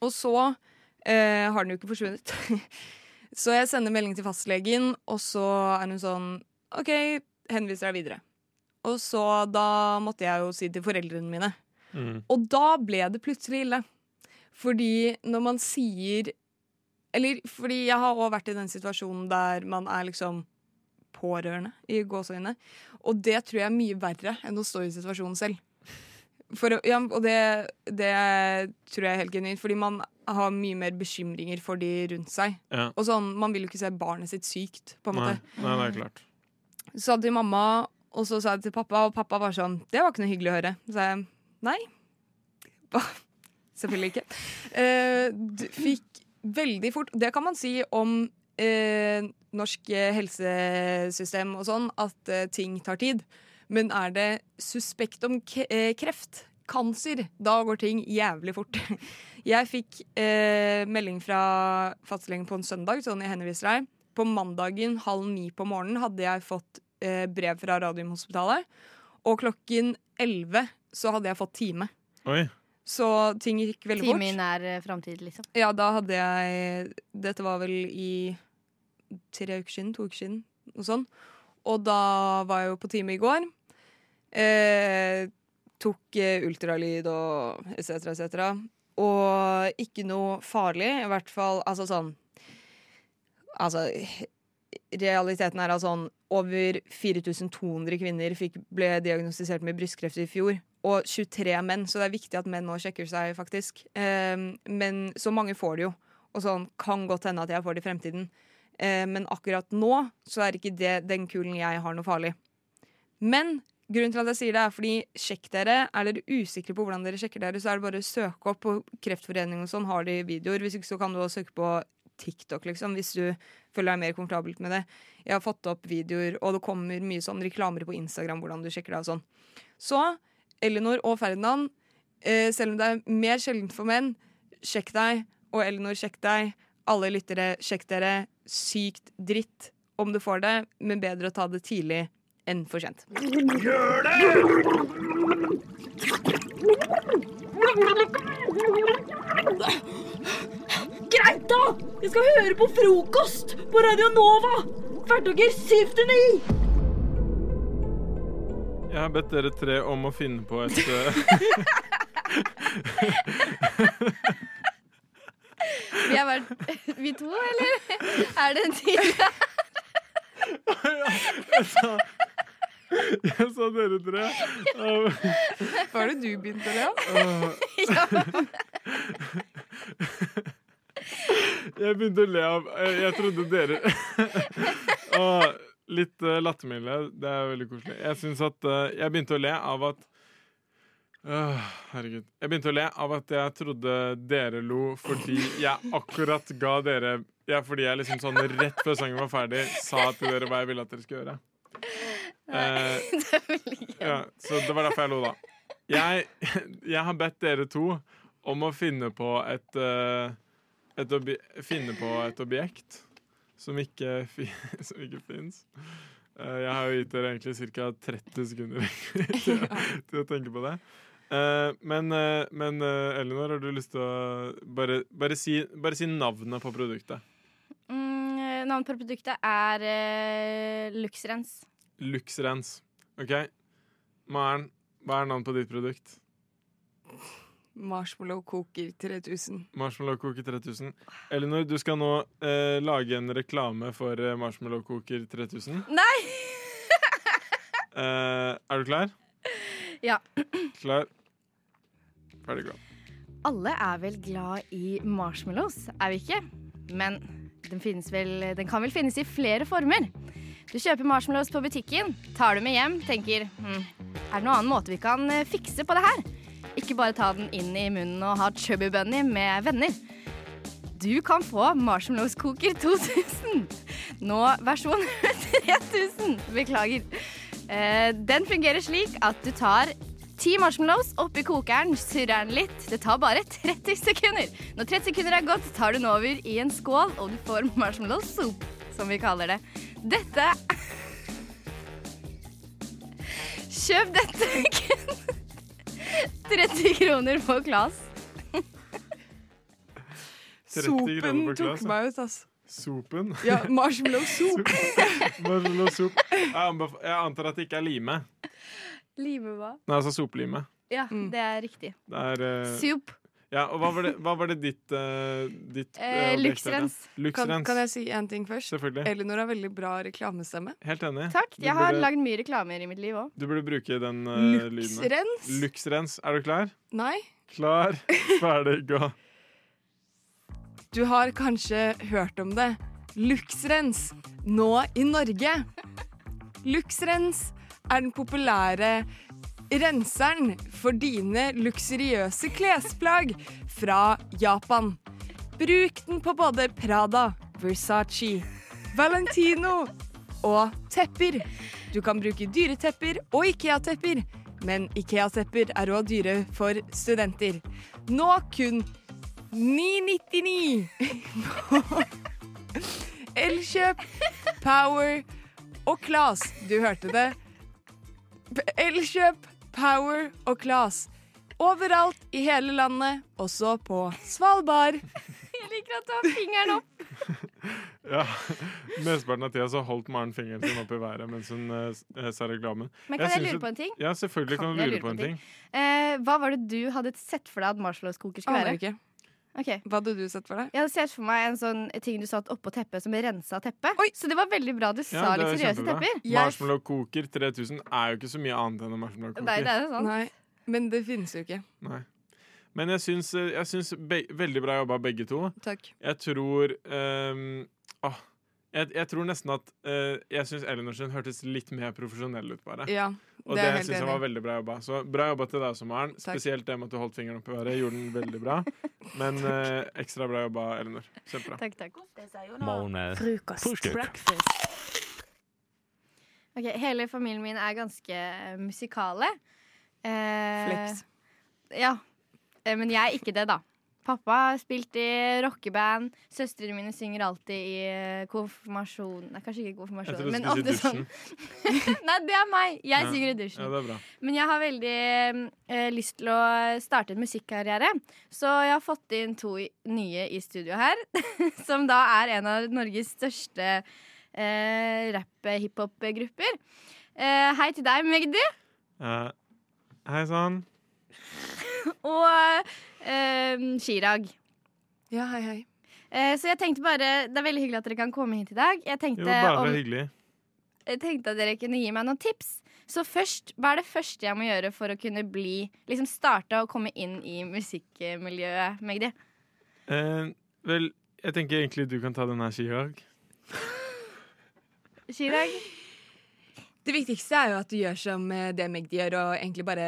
Og så eh, har den jo ikke forsvunnet. så jeg sender melding til fastlegen, og så er hun sånn OK, henviser deg videre. Og så da måtte jeg jo si til foreldrene mine.
Mm.
Og da ble det plutselig ille. Fordi når man sier Eller fordi jeg har òg vært i den situasjonen der man er liksom pårørende, i gåseøyne. Og det tror jeg er mye verre enn å stå i situasjonen selv. For, å- ja, og det, det tror jeg er helt genuint, fordi man har mye mer bekymringer for de rundt seg.
Ja.
Og sånn, Man vil jo ikke se barnet sitt sykt, på en
Nei.
måte.
Nei, det er klart.
Så sa jeg til mamma, og så sa jeg til pappa, og pappa var sånn Det var ikke noe hyggelig å høre. Så sa jeg nei. Selvfølgelig ikke. Eh, d- fikk veldig fort Det kan man si om eh, norsk eh, helsesystem og sånn, at eh, ting tar tid. Men er det suspekt om k eh, kreft, kanser, da går ting jævlig fort. Jeg fikk eh, melding fra fastlegen på en søndag, sånn jeg henviser deg. På mandagen halv ni på morgenen hadde jeg fått eh, brev fra Radiumhospitalet. Og klokken elleve så hadde jeg fått time.
Oi.
Så ting gikk veldig fort.
Time i nær eh, framtid, liksom.
Ja, da hadde jeg Dette var vel i tre uker siden, to uker siden, noe sånn. Og da var jeg jo på time i går. Eh, tok eh, ultralyd og etc., etc. Og ikke noe farlig, i hvert fall. Altså sånn Altså, realiteten er at sånn over 4200 kvinner fikk, ble diagnostisert med brystkreft i fjor. Og 23 menn, så det er viktig at menn nå sjekker seg, faktisk. Ehm, men så mange får det jo. Og sånn kan godt hende at jeg får det i fremtiden. Ehm, men akkurat nå så er ikke det, den kulen jeg har, noe farlig. Men grunnen til at jeg sier det, er fordi sjekk dere. Er dere usikre på hvordan dere sjekker dere, så er det bare å søke opp på Kreftforeningen og sånn. Har de videoer? Hvis ikke så kan du også søke på TikTok, liksom, hvis du føler deg mer komfortabelt med det. Jeg har fått opp videoer, og det kommer mye sånn reklamer på Instagram hvordan du sjekker deg og sånn. Så Elinor og Ferdinand, eh, selv om det er mer sjeldent for menn, sjekk deg. Og Elinor, sjekk deg. Alle lyttere, sjekk dere. Sykt dritt om du får det, men bedre å ta det tidlig enn for sent.
Gjør det!
Greit, da! Jeg skal høre på frokost på Radio Nova! Hverdager 7 til 9!
Jeg har bedt dere tre om å finne på et eh,
Vi er bare Vi to, eller? Er det en til?
Jeg sa dere tre.
Hva er det du begynte,
Lea? Jeg begynte å le av eh, Jeg trodde dere Åh, Litt eh, lattermilde. Det er veldig koselig. Jeg syns at eh, Jeg begynte å le av at Åh, herregud. Jeg begynte å le av at jeg trodde dere lo fordi jeg akkurat ga dere Ja, fordi jeg liksom sånn rett før sangen var ferdig, sa til dere hva jeg ville at dere skulle gjøre. Eh, ja, så det var derfor jeg lo, da. Jeg, jeg har bedt dere to om å finne på et, eh, et obje, Finne på et objekt som ikke, fi- som ikke fins. jeg har jo gitt dere egentlig ca. 30 sekunder til, å- til å tenke på det. Eh, men eh, men eh, Elinor, har du lyst til å bare, bare, si, bare si navnet på produktet?
Mm, eh, navnet på produktet er eh, Luxrens.
Luxrens. OK? Maren, hva er navnet på ditt produkt?
Marshmallow koker 3000.
Marshmallow Cooker 3000. Elinor, du skal nå eh, lage en reklame for eh, Marshmallow Cooker 3000.
Nei!
Eh, er du klar?
Ja.
Klar. Ferdig, gå.
Alle er vel glad i marshmallows, er vi ikke? Men den, finnes vel, den kan vel finnes i flere former. Du kjøper marshmallows på butikken, tar dem med hjem, tenker hm, er det noen annen måte vi kan eh, fikse på det her? Ikke bare ta den inn i munnen og ha chubby bunny med venner. Du kan få Marshmallows Cooker 2000. Nå versjon 3000. Beklager. Eh, Den fungerer slik at du tar ti marshmallows oppi kokeren, surrer den litt. Det tar bare 30 sekunder. Når 30 sekunder er gått, tar du den over i en skål, og du får marshmallow soup, som vi kaller det. Dette Kjøp dette kun 30 kroner på Klas.
30 kroner
Sopen
per
tok
glass, ja.
meg ut, ass.
Sopen.
Ja, marshmallow soup.
Marshmallow soup. Jeg, anbef- jeg antar at det ikke er lime.
Lime hva?
Nei, altså soplime.
Ja, det er riktig.
Det er eh,
Soup.
Ja, og hva var det, hva var det ditt, eh, ditt
Eh,
eh, objekt heter?
Kan,
Luxrens.
kan jeg si én ting først?
Selvfølgelig.
Elinor har veldig bra reklamestemme.
Helt enig.
Takk.
Du
Jeg har
burde-
lagd mye reklamer i mitt liv òg.
Du burde bruke den uh, lyden. der.
Luxrens?
Luxrens. Er du klar?
Nei?
Klar, ferdig, gå.
Du har kanskje hørt om det. Luxrens, nå i Norge. Luxrens er den populære renseren for dine luksuriøse klesplagg fra Japan. Bruk den på både Prada, Versace, Valentino og tepper. Du kan bruke dyretepper og Ikea-tepper, men Ikea-tepper er òg dyre for studenter. Nå kun 999 Elkjøp, Power og Klas. Du hørte det. P- Elkjøp, Power og Klas. Overalt i hele landet, også på Svalbard.
Jeg liker at du har fingeren opp.
Ja. Mesteparten av tida så holdt Maren fingeren sin opp i været mens hun eh, s- eh, sa reklamen.
Men kan jeg
syns
lure
at-
på en ting?
Ja, selvfølgelig kan, du
jeg
lure på en ting.
Eh, hva var det du hadde sett for deg at marshmallowskoker skulle
Aner
være?
ikke.
Ok.
Hva hadde du sett for deg?
Jeg hadde sett for meg en sånn ting du satt oppå teppet som rensa teppet. Så det var veldig bra du sa
Ja, det
litt
er
seriøse
kjempebra.
tepper.
Marshmallow Koker 3000 er jo ikke så mye annet enn en marshmallow koker.
Nei, men det finnes jo ikke.
Nei. Men jeg syns, eh, jeg syns be veldig bra jobba, begge to.
Takk.
Jeg tror ehm, åh, jeg, jeg tror nesten at eh, Jeg syns Elinorsen hørtes litt mer profesjonell ut, bare.
Ja,
og
det
det
er helt
syns jeg
enig.
var veldig bra jobba. Så bra jobba til deg også, Maren.
Takk.
Spesielt det med at du holdt fingeren opp i været. Gjorde den veldig bra. Men eh, ekstra bra jobba, Elinor. Kjempebra.
Takk, takk.
Morgen.
Frokost.
Frühstück.
Ok, Hele familien min er ganske eh, musikale. Eh,
Flex.
Ja. Eh, men jeg er ikke det, da. Pappa har spilt i rockeband. Søstrene mine synger alltid i eh, konfirmasjon Nei, kanskje ikke
Jeg
konfirmasjon,
tror du
men
skulle
alltid
si
sånn.
dusjen.
Nei, det er meg. Jeg
Ja.
synger i dusjen.
Ja, det er bra.
Men jeg har veldig eh, lyst til å starte en musikkarriere, så jeg har fått inn to i, nye i studio her. som da er en av Norges største eh, rapp-hiphop-grupper. Eh, hei til deg, Magdi.
Eh, hei sann.
Og eh, Chirag.
Ja, hei, hei.
Eh, så jeg tenkte bare Det er veldig hyggelig at dere kan komme hit i dag. Jeg
Jo,
tenkte
bare
om-
så hyggelig.
jeg tenkte at dere kunne gi meg noen tips. Så først, hva er det første jeg må gjøre for å kunne bli Liksom starte å komme inn i musikkmiljøet, Magdi?
Eh, vel, jeg tenker egentlig du kan ta den her, Chirag.
Chirag?
Det viktigste er jo at du gjør som eh, det Magdi gjør, og egentlig bare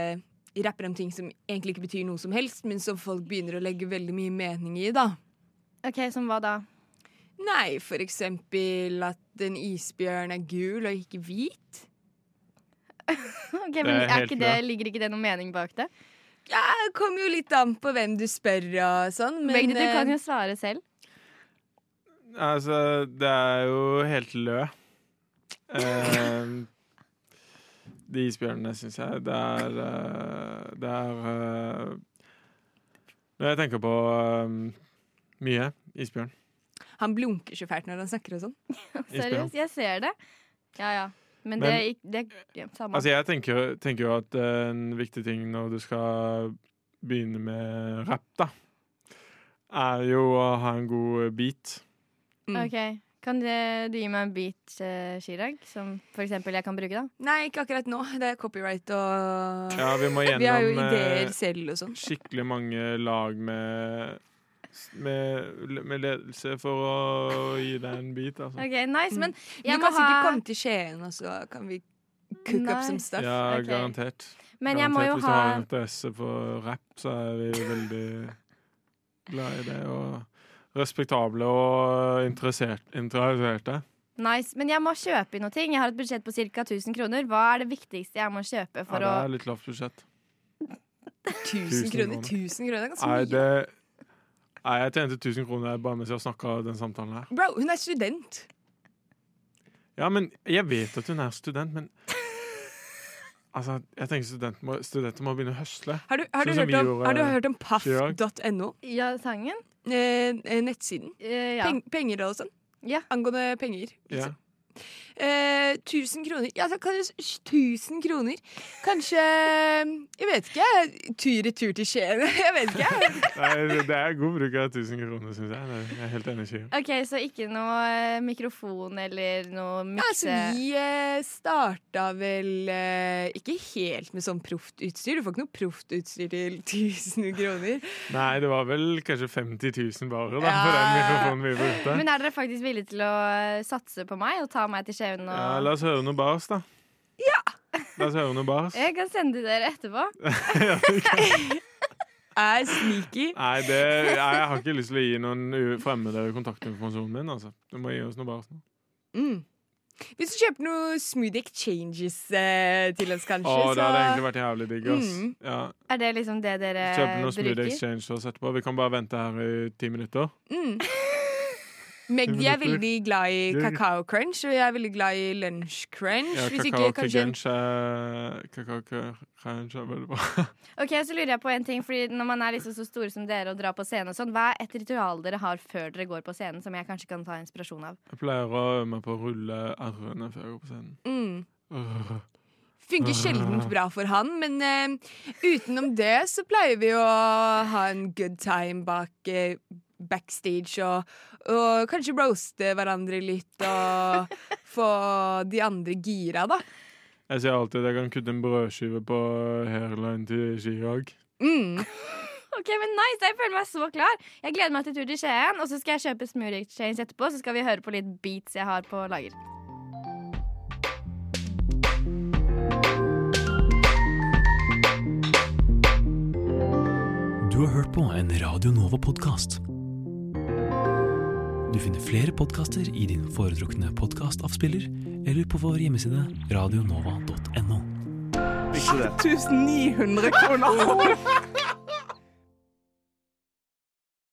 rapper om ting som egentlig ikke betyr noe som helst, men som folk begynner å legge veldig mye mening i, da.
OK, som hva da?
Nei, for eksempel at en isbjørn er gul og ikke hvit.
Ok,
Det
men
er
er
helt
ikke det,
bra.
Ligger ikke det noen mening bak det?
Ja, det kommer jo litt an på hvem du spør og sånn, men
Magdi, du
eh,
kan jo svare selv.
Altså, det er jo helt lø. Eh, de isbjørnene, syns jeg. Det er eh, Det er eh, Når jeg tenker på eh, mye isbjørn.
Han blunker så fælt når han snakker og sånn.
Isbjørn.
Seriøst, jeg ser det. Ja ja. Men, det,
Men-
gikk- det ja, Samme.
Altså, jeg tenker, jo- tenker jo at eh, en viktig ting når du skal begynne med rapp, da, er jo å ha en god beat. Mm.
OK. Kan eh, du gi meg en beat, eh, Chirag, som for eksempel jeg kan bruke, da?
Nei, ikke akkurat nå. Det er copyright og
Ja, vi må gjennom
har jo
eh,
ideer selv og sånn.
Skikkelig mange lag med, med, med ledelse for å gi deg en bit, altså.
OK, nice, men
Mm. Du
jeg
kan
må
sikkert
ha
komme til Skien, og så kan vi cook up some
Nice.
stuff.
Ja,
Ok.
garantert.
Men jeg
garantert.
må jo
Hvis du har
ha-
interesse for rapp, så er vi veldig glad i det. Og respektable og interessert, interesserte.
Nice, men jeg må kjøpe inn noe ting. Jeg har et budsjett på ca. 1000 kroner. Hva er det viktigste jeg må
Ja,
kjøpe for
det
å
er litt lavt budsjett.
1000 kroner. 1000 kroner er ganske
Nei,
mye.
det, nei, jeg tjente 1000 kroner bare mens jeg snakka den samtalen her.
Bro, hun er student.
Ja, men jeg vet at hun er student, men Altså, jeg tenker studenter må, studenter må begynne å høsle.
Har du, har du,
Sånn som
hørt,
vi
om,
gjorde, eh,
har du hørt om
Chirag.
paff.no?
Ja, sangen?
Eh, eh, nettsiden.
ja.
Peng, penger og sånn. Angående penger.
Ja.
Eh, 1000 kroner. Ja, så kan du s- 1000 kroner. Kanskje eh, Jeg vet ikke. Tur-retur til Skien. Jeg vet ikke.
Nei, det er god bruk av 1000 kroner, syns jeg. Jeg er helt enig. Kyrre.
OK, så ikke noe eh, mikrofon eller noe
Ja, altså,
mikse...
vi eh, starta vel eh, ikke helt med sånn proft utstyr. Du får ikke noe proft utstyr til 1000 kroner.
Nei, det var vel kanskje 50 000 bare, da,
Ja.
for den mikrofonen vi brukte.
Men er dere faktisk villige til å eh, satse på meg og ta meg til skjevn
Ja,
og
la oss høre noe bars, da. Ja! La oss høre noe bars.
Jeg kan sende det dere etterpå.
er sneaky.
Nei, det, jeg har ikke lyst til å gi noen u- fremmede kontaktinformasjonen min, altså. Du må gi oss noe bars nå.
Mm. Hvis du kjøper noe Smoothie Exchanges eh, til oss, kanskje,
Å, det hadde egentlig
så
vært jævlig digg, ass.
Mm.
Ja.
Er det liksom det dere
Kjøpe
Eh,
noe Smoothie
bruker?
Exchange for oss etterpå. Vi kan bare vente her i ti minutter.
mm. Magdi er veldig glad i
Det-
kakao crunch, og jeg er veldig glad i lunch crunch.
Ja,
Mm, Hvis ikke, kanskje
Kakao-crunch er kakao-crunch er veldig bra.
Ok, så lurer jeg på en ting Fordi Når man er liksom så store som dere og drar på scenen, og sånn, hva er et ritual dere har før dere går på scenen, som jeg kanskje kan ta inspirasjon av?
Jeg pleier å øve meg på å rulle r-ene før jeg går på scenen.
Mm.
Øh.
Funker sjeldent bra for han, men eh, utenom det så pleier vi å ha en good time bak eh, backstage og, og kanskje roaste hverandre litt og få de andre gira, da.
Jeg sier alltid at jeg kan kutte en brødskive på hairline til Chirag.
Mm.
Ok, men nice, Jeg føler meg så klar. Jeg gleder meg til tur til Skien, og så skal jeg kjøpe Smoothie Exchange etterpå. Så skal vi høre på litt beats jeg har på lager.
Du har hørt på en Radio Nova-podkast. Du finner flere podkaster i din foretrukne podkastavspiller eller på vår hjemmeside radionova.no.
Ikke det.
Ah, 1900 kroner.